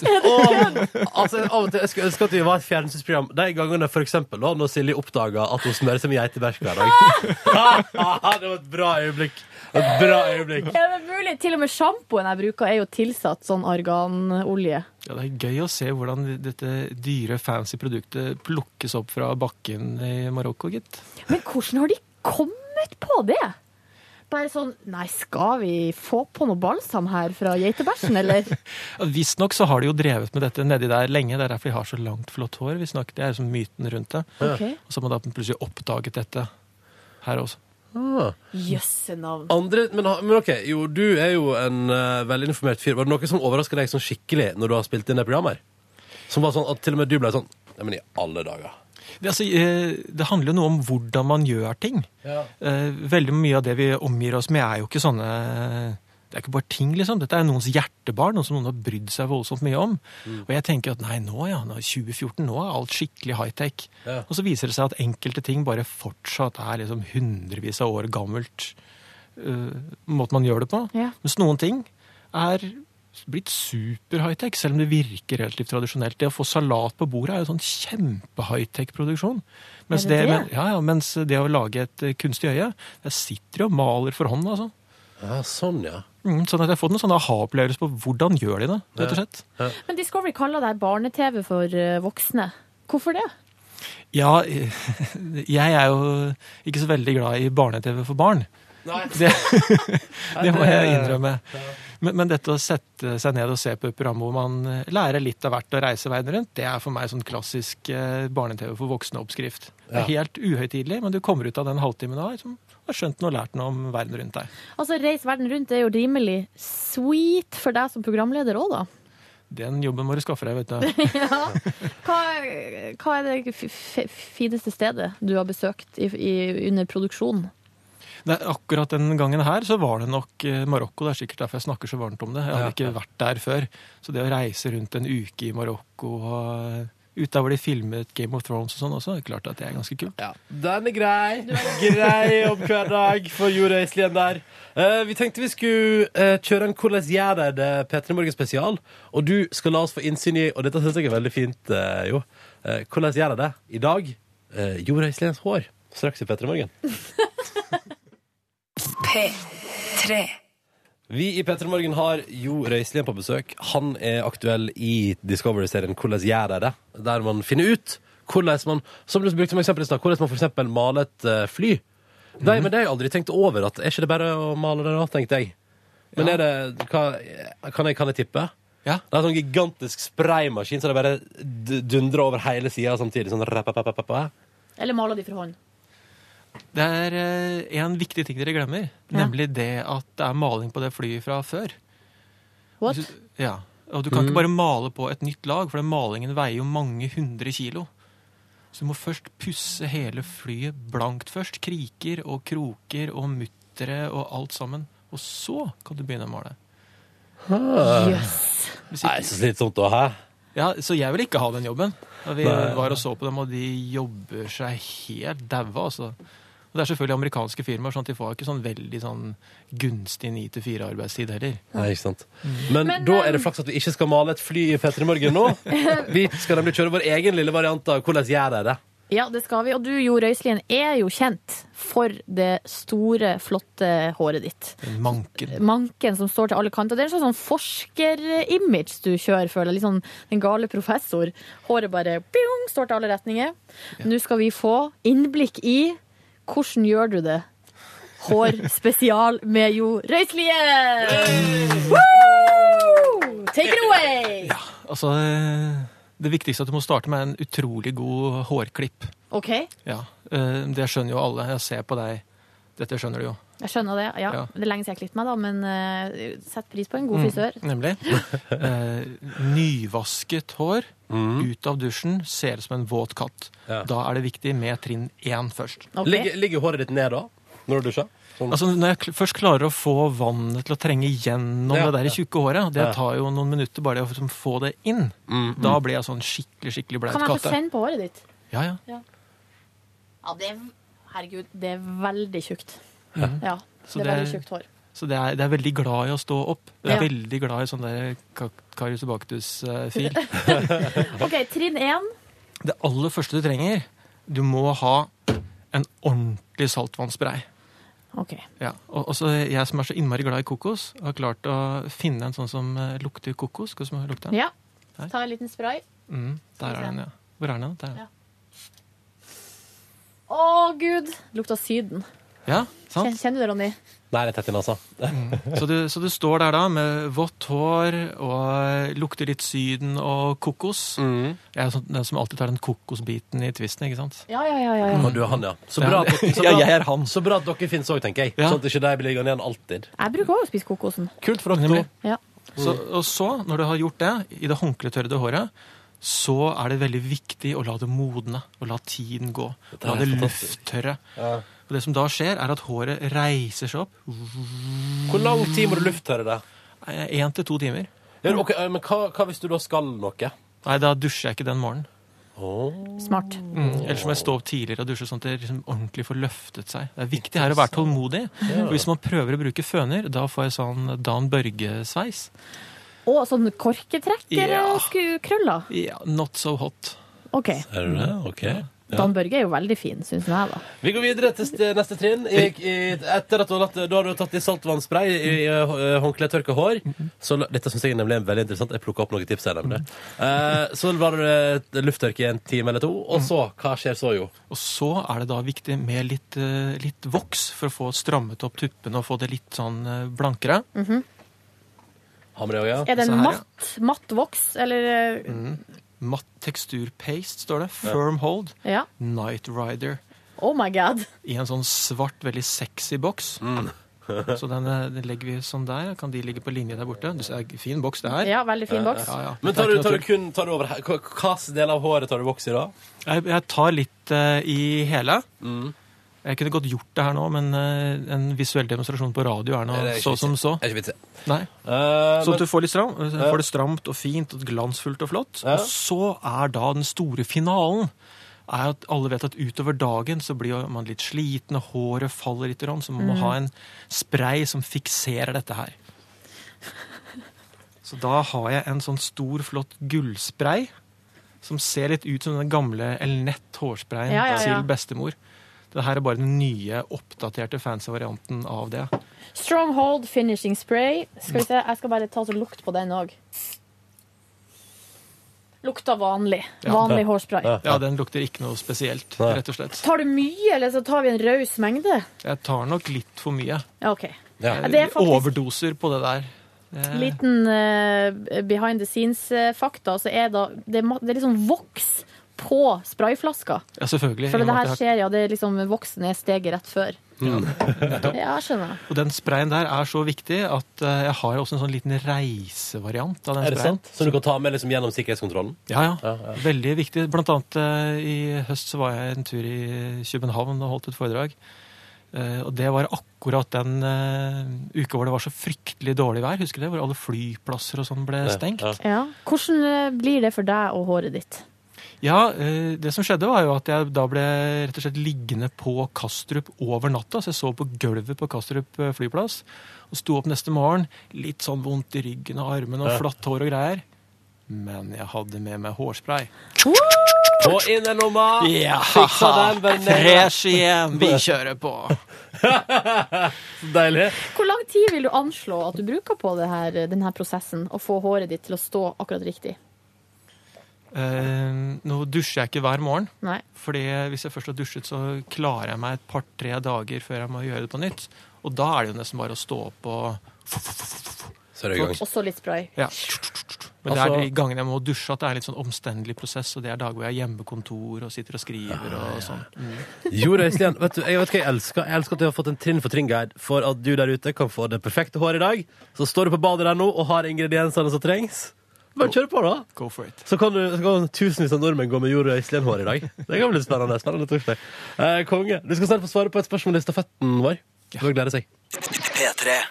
Altså, av og til, jeg skulle ønske at vi var et fjernsynsprogram. De gangene for eksempel, da, når Silje oppdaga at hun smører seg med geitebæsj hver dag. [laughs] det var et bra øyeblikk. Et bra øyeblikk.
Er det mulig? Til og med sjampoen jeg bruker, er jo tilsatt sånn arganolje.
Ja, Det er gøy å se hvordan dette dyre, fancy produktet plukkes opp fra bakken i Marokko, gitt.
Men hvordan har de kommet på det? Bare sånn Nei, skal vi få på noe balsam her fra geitebæsjen, eller?
Ja, Visstnok så har de jo drevet med dette nedi der lenge. Det er derfor de har så langt, flott hår. visstnok. Det er liksom myten rundt det.
Ok.
Og så har man da plutselig oppdaget dette her også.
Jøsse navn.
Andre, men, ha- men OK, jo, du er jo en eh, velinformert fyr. Var det noe som overraska deg sånn skikkelig når du har spilt inn det programmet? her? Som var sånn at til og med du ble sånn Nei, men i alle dager.
Det, altså, eh, det handler jo noe om hvordan man gjør ting.
Ja.
Eh, Veldig mye av det vi omgir oss med, er jo ikke sånne Det er ikke bare ting, liksom. Dette er noens hjertebarn, noe som noen har brydd seg voldsomt mye om.
Mm.
Og jeg tenker at nei, nå ja, nå, er 2014, nå er alt skikkelig high-tech.
Ja.
Og så viser det seg at enkelte ting bare fortsatt er liksom hundrevis av år gammelt. eh, måte man gjør det på.
Ja.
Mens noen ting er blitt super high-tech, selv om det virker relativt tradisjonelt. Det å få salat på bordet er jo sånn kjempe high-tech-produksjon. Mens
Er
det,
det
men,
det?
ja, ja, mens det å lage et eh, kunstig øye, jeg sitter jo og maler for hånd, altså.
Ja, sånn, ja.
Mm, sånn at jeg har fått en sånn aha-opplevelse på hvordan gjør de det, rett og slett.
Men Discovery kaller det her barne-TV for eh, voksne. Hvorfor det?
Ja, [laughs] jeg er jo ikke så veldig glad i barne-TV for barn.
Nei. [laughs]
Det, [laughs] det må jeg
Nei, det-
innrømme. Men, men dette å sette seg ned og se på et program hvor man eh, lærer litt av hvert og reiser verden rundt, det er for meg sånn klassisk eh, barne-TV for voksne-oppskrift. Det er
Ja.
helt uhøytidelig, men du kommer ut av den halvtimen du har, som har skjønt noe og lært noe om verden rundt deg.
Altså, Reis verden rundt er jo rimelig sweet for deg som programleder òg, da.
Den jobben må du skaffe deg, vet du.
Hva, hva er det f- f- fineste stedet du har besøkt i, i, under produksjon?
Nei, akkurat den gangen her så var det nok eh, Marokko. Det er sikkert derfor jeg snakker så varmt om det. Jeg hadde ikke vært der før. Så det å reise rundt en uke i Marokko og eh, ut der hvor de filmet Game of Thrones og sånn også, det er klart at det er ganske kult.
Den er grei. Grei opp hver dag for jorda Iselien der. Eh, vi tenkte vi skulle eh, kjøre en Hvordan gjør de det? P3 Morgen spesial. Og du skal la oss få innsyn i, og dette syns jeg er veldig fint, eh, jo. Eh, hvordan gjør de det i dag? Uh, jorda Iseliens hår. Straks i P3 Morgen.
P3.
Vi i Petter Morgen har Jo Røiselien på besøk. Han er aktuell i Discovery-serien Hvordan gjør de det? Der man finner ut hvordan man som du brukte som eksempel i stad, hvordan man for eksempel maler et eh, fly. De, Men det har jeg aldri tenkt over. at Er ikke det bare å male det da, tenkte jeg. Men er det, hva, kan, jeg, kan jeg tippe? Det er en sånn gigantisk spraymaskin, så det bare d- dundrer over hele sida samtidig. Sånn, rap, rap, rap, rap, rap.
Eller maler de for hånd?
Det er eh, en viktig ting dere glemmer, nemlig det at det er maling på det flyet fra før.
What?
Ja, Og du kan
Mm.
ikke bare male på et nytt lag, for den malingen veier jo mange hundre kilo. Så du må først pusse hele flyet blankt først. Kriker og kroker og muttere og alt sammen. Og så kan du begynne å male.
Jøss. Nei, så slitsomt da, hæ?
Ja, Så jeg vil ikke ha den jobben. Da vi
Nei.
var og så på dem, og de jobber seg helt daua, altså. Og det er selvfølgelig amerikanske firmaer, sånn at de får ikke sånn veldig sånn gunstig 9-4-arbeidstid heller.
Nei, ikke sant. Men, da er det flaks at vi ikke skal male et fly i P3 Morgen nå. Vi skal nemlig kjøre vår egen lille variant av hvordan gjør de det.
Ja, det skal vi. Og du, Jo Røiselien, er jo kjent for det store, flotte håret ditt.
Manken.
Manken som står til alle kanter. Det er en slags sånn forskerimage du kjører, føler jeg. Litt sånn den gale professor. Håret bare pjong, står til alle retninger. Nå skal vi få innblikk i hvordan gjør du det. Hårspesial med Jo Røiselien! Woo! Take it away!
Altså, det viktigste er at du må starte med en utrolig god hårklipp.
OK,
Ja, eh, Det skjønner jo alle. Jeg ser på deg. Dette skjønner du jo.
jeg skjønner det. Ja,
Ja.
Det er lenge siden jeg har klippet meg, da, men eh, sett pris på en god
Mm,
frisør.
[laughs]
nemlig. Eh, nyvasket hår
Mm.
ut av dusjen ser ut som en våt katt. Da er det viktig med trinn én først.
Ok. Ligger- håret ditt ned da, når du dusjer?
Altså, når jeg kl- først klarer å få vannet til å trenge gjennom
Ja,
det der
ja.
tjukke håret, det
Ja. Mm,
tar jo noen minutter bare å liksom få det inn, da blir jeg sånn skikkelig, skikkelig bleit
Kan jeg få
katt.
sende på håret ditt?
Ja, ja.
Ja. Ja, det er, herregud, det er veldig tjukt.
Mhm.
Ja,
Så
det er
det er-
veldig tjukt hår.
Så det er, det er veldig glad i å stå opp. Det er
Ja.
veldig glad i sånn der kak- Karius og
[laughs]
Baktus-fil.
OK, trinn én.
det aller første du trenger, du må ha en ordentlig saltvannsspray.
Ok.
Ja, og også jeg som er så innmari glad i kokos, har klart å finne en sånn som eh, lukter kokos. Skal du lukte den?
Ja. Ta en liten spray.
Mm, der er den, ja. Hvor er den? Der. er den.
Å, gud! Lukta Syden.
Ja, sant?
Kjen- Kjenner du det, Ronny?
Nei, det er tett inn, altså.
Så du, så du står der da med vått hår og lukter litt Syden og kokos. Jeg er sånn, den som alltid tar den kokosbiten i tvisten, ikke sant?
Ja, ja, ja. ja,
Mm.
ja.
Og du er han, ja. Så
Ja.
bra, at dere- så
Ja,
bra,
jeg er han.
Så bra at dere finnes òg, tenker jeg. Sånn at ikke de blir liggende igjen alltid.
Jeg bruker òg å spise kokosen.
Kult for dere to.
Ja.
Så,
Mm.
og så, når du har gjort det, i det håndkletørrede håret, så er det veldig viktig å la det modne, og la tiden gå.
Dette
La
er
det
fantastisk.
lufttørre. Og det som da skjer, er at håret reiser seg opp. Hvor
lang tid må du lufttørre det?
Én til to timer.
Ja, ok, eh, men hva, hva hvis du da skal noe?
Nei, da dusjer jeg ikke den morgenen.
Smart.
Mm, ellers må jeg stå opp tidligere og dusje sånn at det liksom ordentlig får løftet seg. Det er viktig her å være tålmodig.
Ja.
Og hvis man prøver å bruke føner, da får jeg sånn Dan Børge-sveis.
Og sånn korketrekkerkrøller.
Ja, not so hot.
OK.
Er du det? Ok.
Dan Børge er jo veldig fin, syns jeg, da.
Vi går videre til st- neste trinn. I, i, etter at du har latt, da har du tatt i saltvannspray i, i eh, håndkle, tørka hår. Så, la- dette synes jeg nemlig er veldig interessant. Jeg plukket opp noen tips her. nemlig. Eh, så var det eh, lufttørke i en time eller to, og så Hva skjer så, jo?
Og så er det da viktig med litt, eh, litt voks for å få strammet opp tuppene og få det litt sånn eh, blankere.
har vi det òg, ja.
Er det
Så
en
her, ja.
matt, matt voks, eller eh,
Mm. Matt tekstur paste, står det. Firm hold.
Ja.
Night Rider.
Oh my god.
I en sånn svart, veldig sexy boks.
Mm. [laughs]
så den, eh, den legger vi sånn der. Kan de ligge på linje der borte? Det er fin boks, det her.
Ja, veldig fin boks.
Ja, ja.
Men tar du, tar du kun tar du over he- hva- Hvilken del av håret tar du voks i da?
Jeg, jeg tar litt eh, i hele.
Mm.
Jeg kunne godt gjort det her nå, men eh, en visuell demonstrasjon på radio er nå
Det er ikke
så
vits i.
som så.
Det er ikke vits i.
Nei. så
Eh, men-
at du får, litt stram, eh,
Ja.
får det stramt og fint og glansfullt og flott.
Ja.
Og så er da den store finalen er at alle vet at utover dagen så blir jo man litt sliten, og håret faller litt, grann, så man må
Mhm.
ha en spray som fikserer dette her. Så da har jeg en sånn stor, flott gullspray som ser litt ut som den gamle Elnett hårsprayen
Ja, ja, ja.
til bestemor. Det her er bare den nye, oppdaterte fancy varianten av det.
Stronghold finishing spray. Skal vi se, Jeg skal bare ta og lukte på den òg. Lukta vanlig. Vanlig hårspray.
Ja, den lukter ikke noe spesielt, rett og slett.
Tar du mye, eller så tar vi en raus mengde?
Jeg tar nok litt for mye.
Ja, OK. Ja, det er
Jeg
faktisk-
Overdoser på det der. Det-
eh, Liten eh, behind the scenes-fakta, så er da, det, er ma- det er liksom voks på sprayflaska.
Ja, selvfølgelig.
For
I og med
det
at
her
jeg har-
skjer, ja. Det er liksom voksen er steget rett før. Ja, skjønner.
Og den sprayen der er så viktig at eh, jeg har også en sånn liten reisevariant av den
Er det
sprayen.
sant? Som du kan ta med liksom gjennom sikkerhetskontrollen?
Ja, ja. Veldig viktig. Blant annet eh, i høst så var jeg en tur i København og holdt et foredrag. Eh, og det var akkurat den eh, uka hvor det var så fryktelig dårlig vær, husker du det? Hvor alle flyplasser og sånn ble
Ja,
stengt.
Ja. Hvordan eh, blir det for deg og håret ditt?
Ja, eh, det som skjedde var jo at jeg da ble rett og slett liggende på Kastrup over natta. Så jeg sov på gulvet på Kastrup eh, flyplass. Og sto opp neste morgen, litt sånn vondt i ryggen og armene og
Ja.
flatt hår og greier. Men jeg hadde med meg hårspray.
På innerlomma!
Ja,
Fiksa
[laughs]
den, venner.
fresh igjen! Vi kjører på.
Så deilig.
Hvor lang tid vil du anslå at du bruker på det her, eh, denne prosessen å få håret ditt til å stå akkurat riktig?
Eh, nå dusjer jeg ikke hver morgen.
Nei.
Fordi hvis jeg først har dusjet, så klarer jeg meg et par-tre dager før jeg må gjøre det på nytt. Og da er det jo nesten bare å stå opp og
Så
er det i gang.
Også litt spray.
Ja. Men det
Altså-
er de gangene jeg må dusje at det er litt sånn omstendelig prosess, og det er dager hvor jeg har hjemmekontor og sitter og skriver og sånn. Mm.
Jo, Øystein, vet du, jeg vet hva jeg elsker. Jeg elsker at du har fått en trinn for trinn-guide for at du der ute kan få det perfekte håret i dag. Så står du på badet der nå og har ingrediensene som trengs. Bare kjør på, da.
Go for it.
Så kan, du, så kan tusenvis av nordmenn gå med Jorunn Øyslien-hår i dag. Det kan bli spennende. spennende torsdag. eh, konge, du skal snart få svare på et spørsmål i stafetten vår. Du bør glede seg.
P3.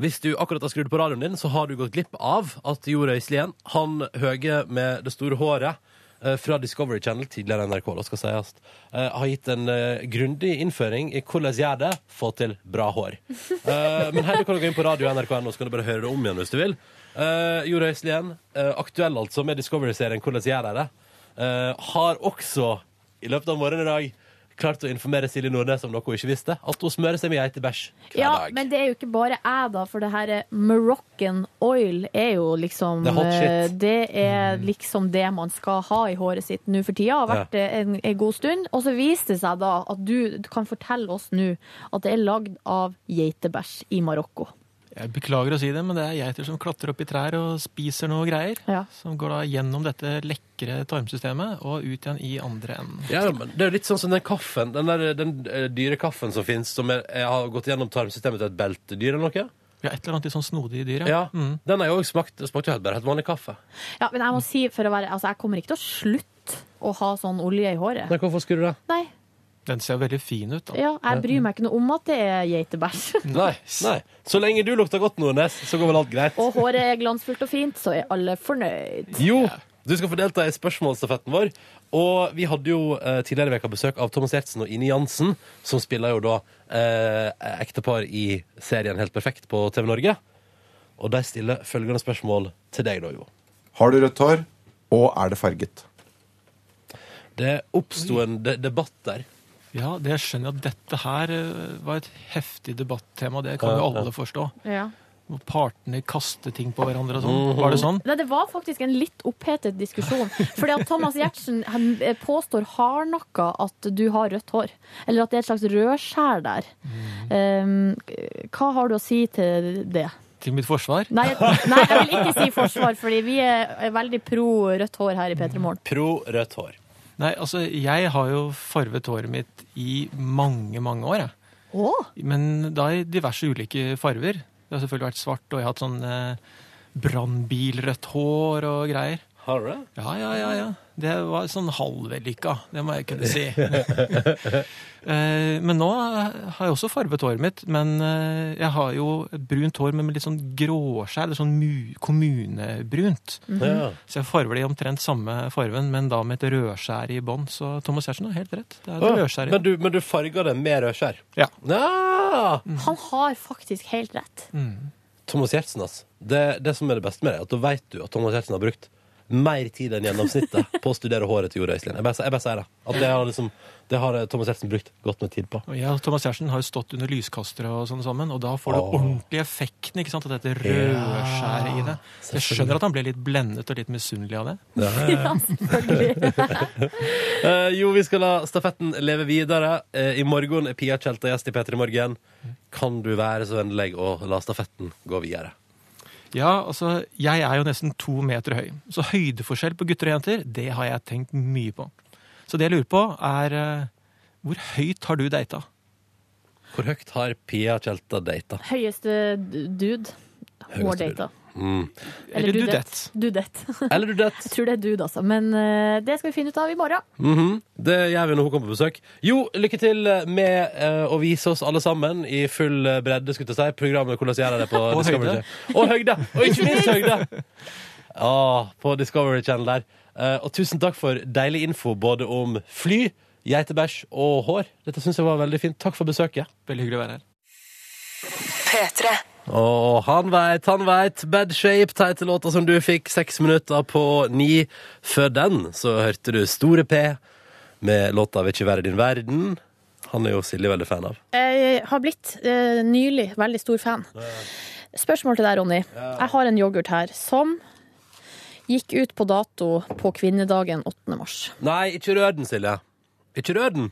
Hvis du akkurat har skrudd på radioen din, så har du gått glipp av at Jorunn Øyslien, han høye med det store håret eh, fra Discovery Channel, tidligere NRK, da skal sies, eh, har gitt en eh, grundig innføring i hvordan gjør det få til bra hår. Eh, Men her du kan du gå inn på radio NRK.no, så kan du bare høre det om igjen hvis du vil. Eh, Jorunn Øyslien, eh, aktuell altså med Discovery-serien 'Hvordan gjør de det', eh, har også i løpet av morgenen i dag klart å informere Silje Nordnes om noe hun ikke visste, at hun smører seg med geitebæsj.
Ja, men det er jo ikke bare jeg, da, for det her eh, Moroccan oil er jo liksom
Det er hot shit.
eh, Det er liksom det man skal ha i håret sitt nå for tida. Har vært eh, en, en god stund. Og så viser det seg da at du, du kan fortelle oss nå at det er lagd av geitebæsj i Marokko.
Jeg beklager å si det, men det er geiter som klatrer opp i trær og spiser noe greier. Som går da gjennom dette lekre tarmsystemet og ut igjen i andre enden.
Ja, men Det er jo litt sånn som den kaffen, den, der, den eh, dyre kaffen som finnes, som er, er, har gått gjennom tarmsystemet til et beltedyr eller noe.
Ja, et eller annet litt sånn snodig dyr,
ja. Den har jo også smakt, det smakte jo helt bare helt vanlig kaffe.
Ja, men jeg må si, for å være Altså, jeg kommer ikke til å slutte å ha sånn olje i håret.
Nei, hvorfor skulle du det?
Nei,
Den ser veldig fin ut, da.
ja, jeg bryr meg ikke noe om at det er geitebæsj. [laughs]
Nei, nei. Så lenge du lukter godt, Nordnes, så går vel alt greit.
Og håret er glansfullt og fint, så er alle fornøyd.
Jo, du skal få delta i spørsmålsstafetten vår. Og vi hadde jo eh, tidligere i veka besøk av Thomas Gjertsen og Ine Jansen, som spiller jo da eh, ektepar i serien Helt perfekt på TV Norge. Og de stiller følgende spørsmål til deg, da, Jo.
Har du rødt hår, og er det farget?
Det oppsto en de debatt der.
Ja, det skjønner jeg at dette her eh, var et heftig debattema. Det kan jo
Ja, ja.
alle forstå.
Ja.
Hvor partene kaster ting på hverandre og sånn. Var det sånn?
Nei, det var faktisk en litt opphetet diskusjon. Fordi at Thomas Giertsen han, eh, påstår hardnakka at du har rødt hår. Eller at det er et slags rødskjær der. Um, hva har du å si til det?
Til mitt forsvar?
Nei, nei, jeg vil ikke si forsvar, fordi vi er er veldig pro rødt hår her i P3 Morgen.
Pro rødt hår.
Nei, altså, jeg har jo farvet håret mitt i mange, mange år, jeg.
Åh.
Men da i diverse ulike farver. Det har selvfølgelig vært svart, og jeg har hatt sånn eh, brannbilrødt hår og greier.
Har du det?
Ja, ja, ja. ja. Det var sånn halvvellykka, det må jeg kunne si. Eh, men nå har jeg også farvet håret mitt, men eh, jeg har jo et brunt hår men med litt sånn gråskjær, det er sånn mu kommunebrunt.
Mhm. Ja.
Så jeg farver det i omtrent samme farven, men da med et rødskjær i bånn. Så Thomas Giertsen har helt rett. Det er det
Å,
rødskjæret.
men, du, men du farger det med rødskjær?
Ja.
Han har faktisk helt rett.
Thomas Gjertsen, altså. Det, det som er det beste med det, er at da vet du at Thomas Gjertsen har brukt mer tid enn gjennomsnittet på å studere håret til Jorda Øyslien. Jeg bare, jeg bare sier det. At det har, liksom, det har Thomas Gjertsen brukt godt med tid på.
Og jeg og Thomas Giertsen har jo stått under lyskastere og sånn sammen, og da får du
Åh.
ordentlig effekten ikke sant, av dette
Ja,
rødskjæret i det. Så jeg
selvfølgelig.
skjønner at han ble litt blendet og litt misunnelig av det.
Ja, ja, ja. Ja, Eh, jo, vi skal la stafetten leve videre. Eh, I morgen er Pia Tjelta gjest i P3 Morgen. Kan du være så vennlig å la stafetten gå videre?
Ja, altså, jeg er jo nesten to meter høy, så høydeforskjell på gutter og jenter, det har jeg tenkt mye på. Så det jeg lurer på, er eh, hvor høyt har du data?
Hvor høyt har Pia Tjelta data?
Høyeste dude.
Høyeste dude.
Hårdata.
Mm.
Dudett.
Eller dudett.
[laughs] Jeg tror det er dude, altså. Men eh, det skal vi finne ut av i morgen.
Mhm. Det gjør vi når hun kommer på besøk. Jo, lykke til med eh, å vise oss alle sammen i full eh, bredde, skulle jeg til å si, programmet Hvordan gjør jeg det på
[laughs] Og
Discovery
høyde.
Channel. Og høyde! Og ikke minst høyde! [laughs] Ja, på Discovery Channel der. Eh, og tusen takk for deilig info både om fly, geitebæsj og hår. Dette syns jeg var veldig fint. Takk for besøket.
Veldig hyggelig å være her.
P3.
Og han veit, han veit. Bad Shape, teite låta som du fikk seks minutter på ni. Før den så hørte du Store P med låta 'Vil ikke være din verden'. Han er jo Silje veldig fan av.
Jeg har blitt eh, nylig veldig stor fan. Spørsmål til deg, Ronny. Jeg har en yoghurt her som gikk ut på dato på kvinnedagen 8. mars.
Nei, ikke rør den, Silje. Ikke rør den!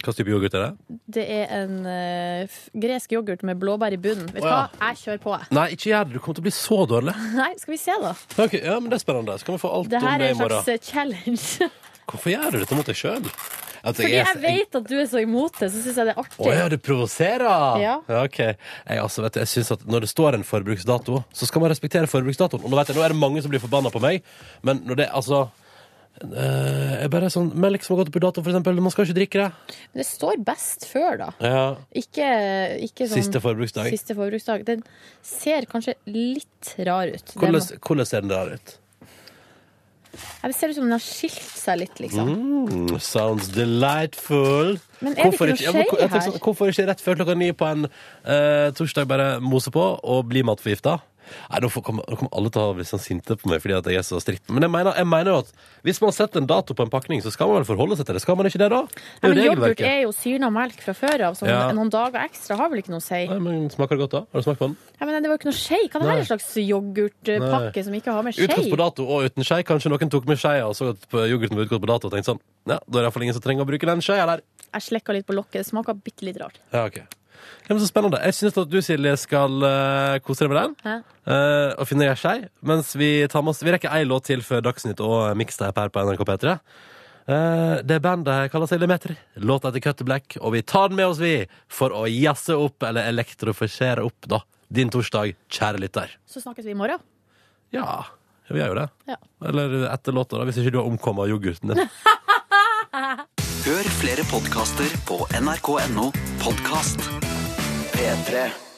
Hva slags type yoghurt er det?
Det er en eh, f- gresk yoghurt med blåbær i bunnen. Vet
Å,
du
ja.
hva? Jeg kjører på, [laughs] jeg.
Nei, ikke gjør det. Du kommer til å bli så dårlig.
Nei, skal vi se, da.
Ok, ja, men Det er spennende. Så kan vi få alt
Det
om
her
det
er
i
en slags
morgen.
eh, challenge.
Hvorfor gjør du dette mot deg sjøl?
[laughs] Fordi jeg vet at du er så imot det, så syns jeg det er
Å ja,
artig.
du provoserer!
Ja.
ok. Jeg, altså, vet du, jeg synes at Når det står en forbruksdato, så skal man respektere forbruksdatoen. Og nå, vet jeg, nå er det mange som blir forbanna på meg, men når det altså eh, jeg bare er sånn, Melk som har gått opp i dato, for eksempel. Man skal ikke drikke det.
Men det står best før, da.
Ja.
Ikke, ikke sånn
Siste forbruksdag.
Siste forbruksdag. Den ser kanskje litt rar ut. Den-
Hvordan, hvordan ser den der ut?
Jeg ser ut som den har skilt seg litt, liksom.
Mm, sounds delightful.
Men er det ikke
ja, men hvor-
noe skje
jeg tenker
her?
sånn, Hvorfor ikke rett før klokka ni på en eh, torsdag bare mose på og bli matforgifta? Nei, Nå får- kommer nå kommer alle til å bli sånn sinte på meg fordi at jeg er så stritt. Men jeg mener, jeg mener jo at hvis man setter en dato på en pakning, så skal man vel forholde seg til det? Skal man ikke det, da?
Nei,
Det er
men
jo
yoghurt
regelverket.
er jo syrna melk fra før av, så
Ja.
noen dager ekstra har vel ikke noe å si.
Nei, men Smaker det godt, da? Har du smakt på den?
Ja, men det var jo ikke noe skje. Hva er det her
Nei.
en slags yoghurtpakke
Nei.
som ikke har med skje?
Utgått på dato og uten skei. Kanskje noen tok med skeia og så at yoghurten var utgått på dato og tenkte sånn Ja, da er det iallfall ingen som trenger å bruke den skeia der.
Jeg slekka litt på lokket, det smaka bitte litt rart.
Ja, ok. Ja, men så spennende. Jeg syns at du, Silje, skal eh, kose deg med den.
Ja.
eh, og finne ei skei. Mens vi tar med oss Vi rekker ei låt til før Dagsnytt og Mixtape her på NRK P3. Eh, det bandet kaller seg Lemeter. Låta heter Cut the Black, og vi tar den med oss, vi, for å jazze opp, eller elektrofisere opp, da. Din torsdag, kjære lytter.
Så snakkes vi i morgen.
Ja, vi gjør jo det.
Ja.
Eller etter låta, da, hvis ikke du har omkommet av yoghurten din.
Hør flere podkaster på nrk.no podkast. P3.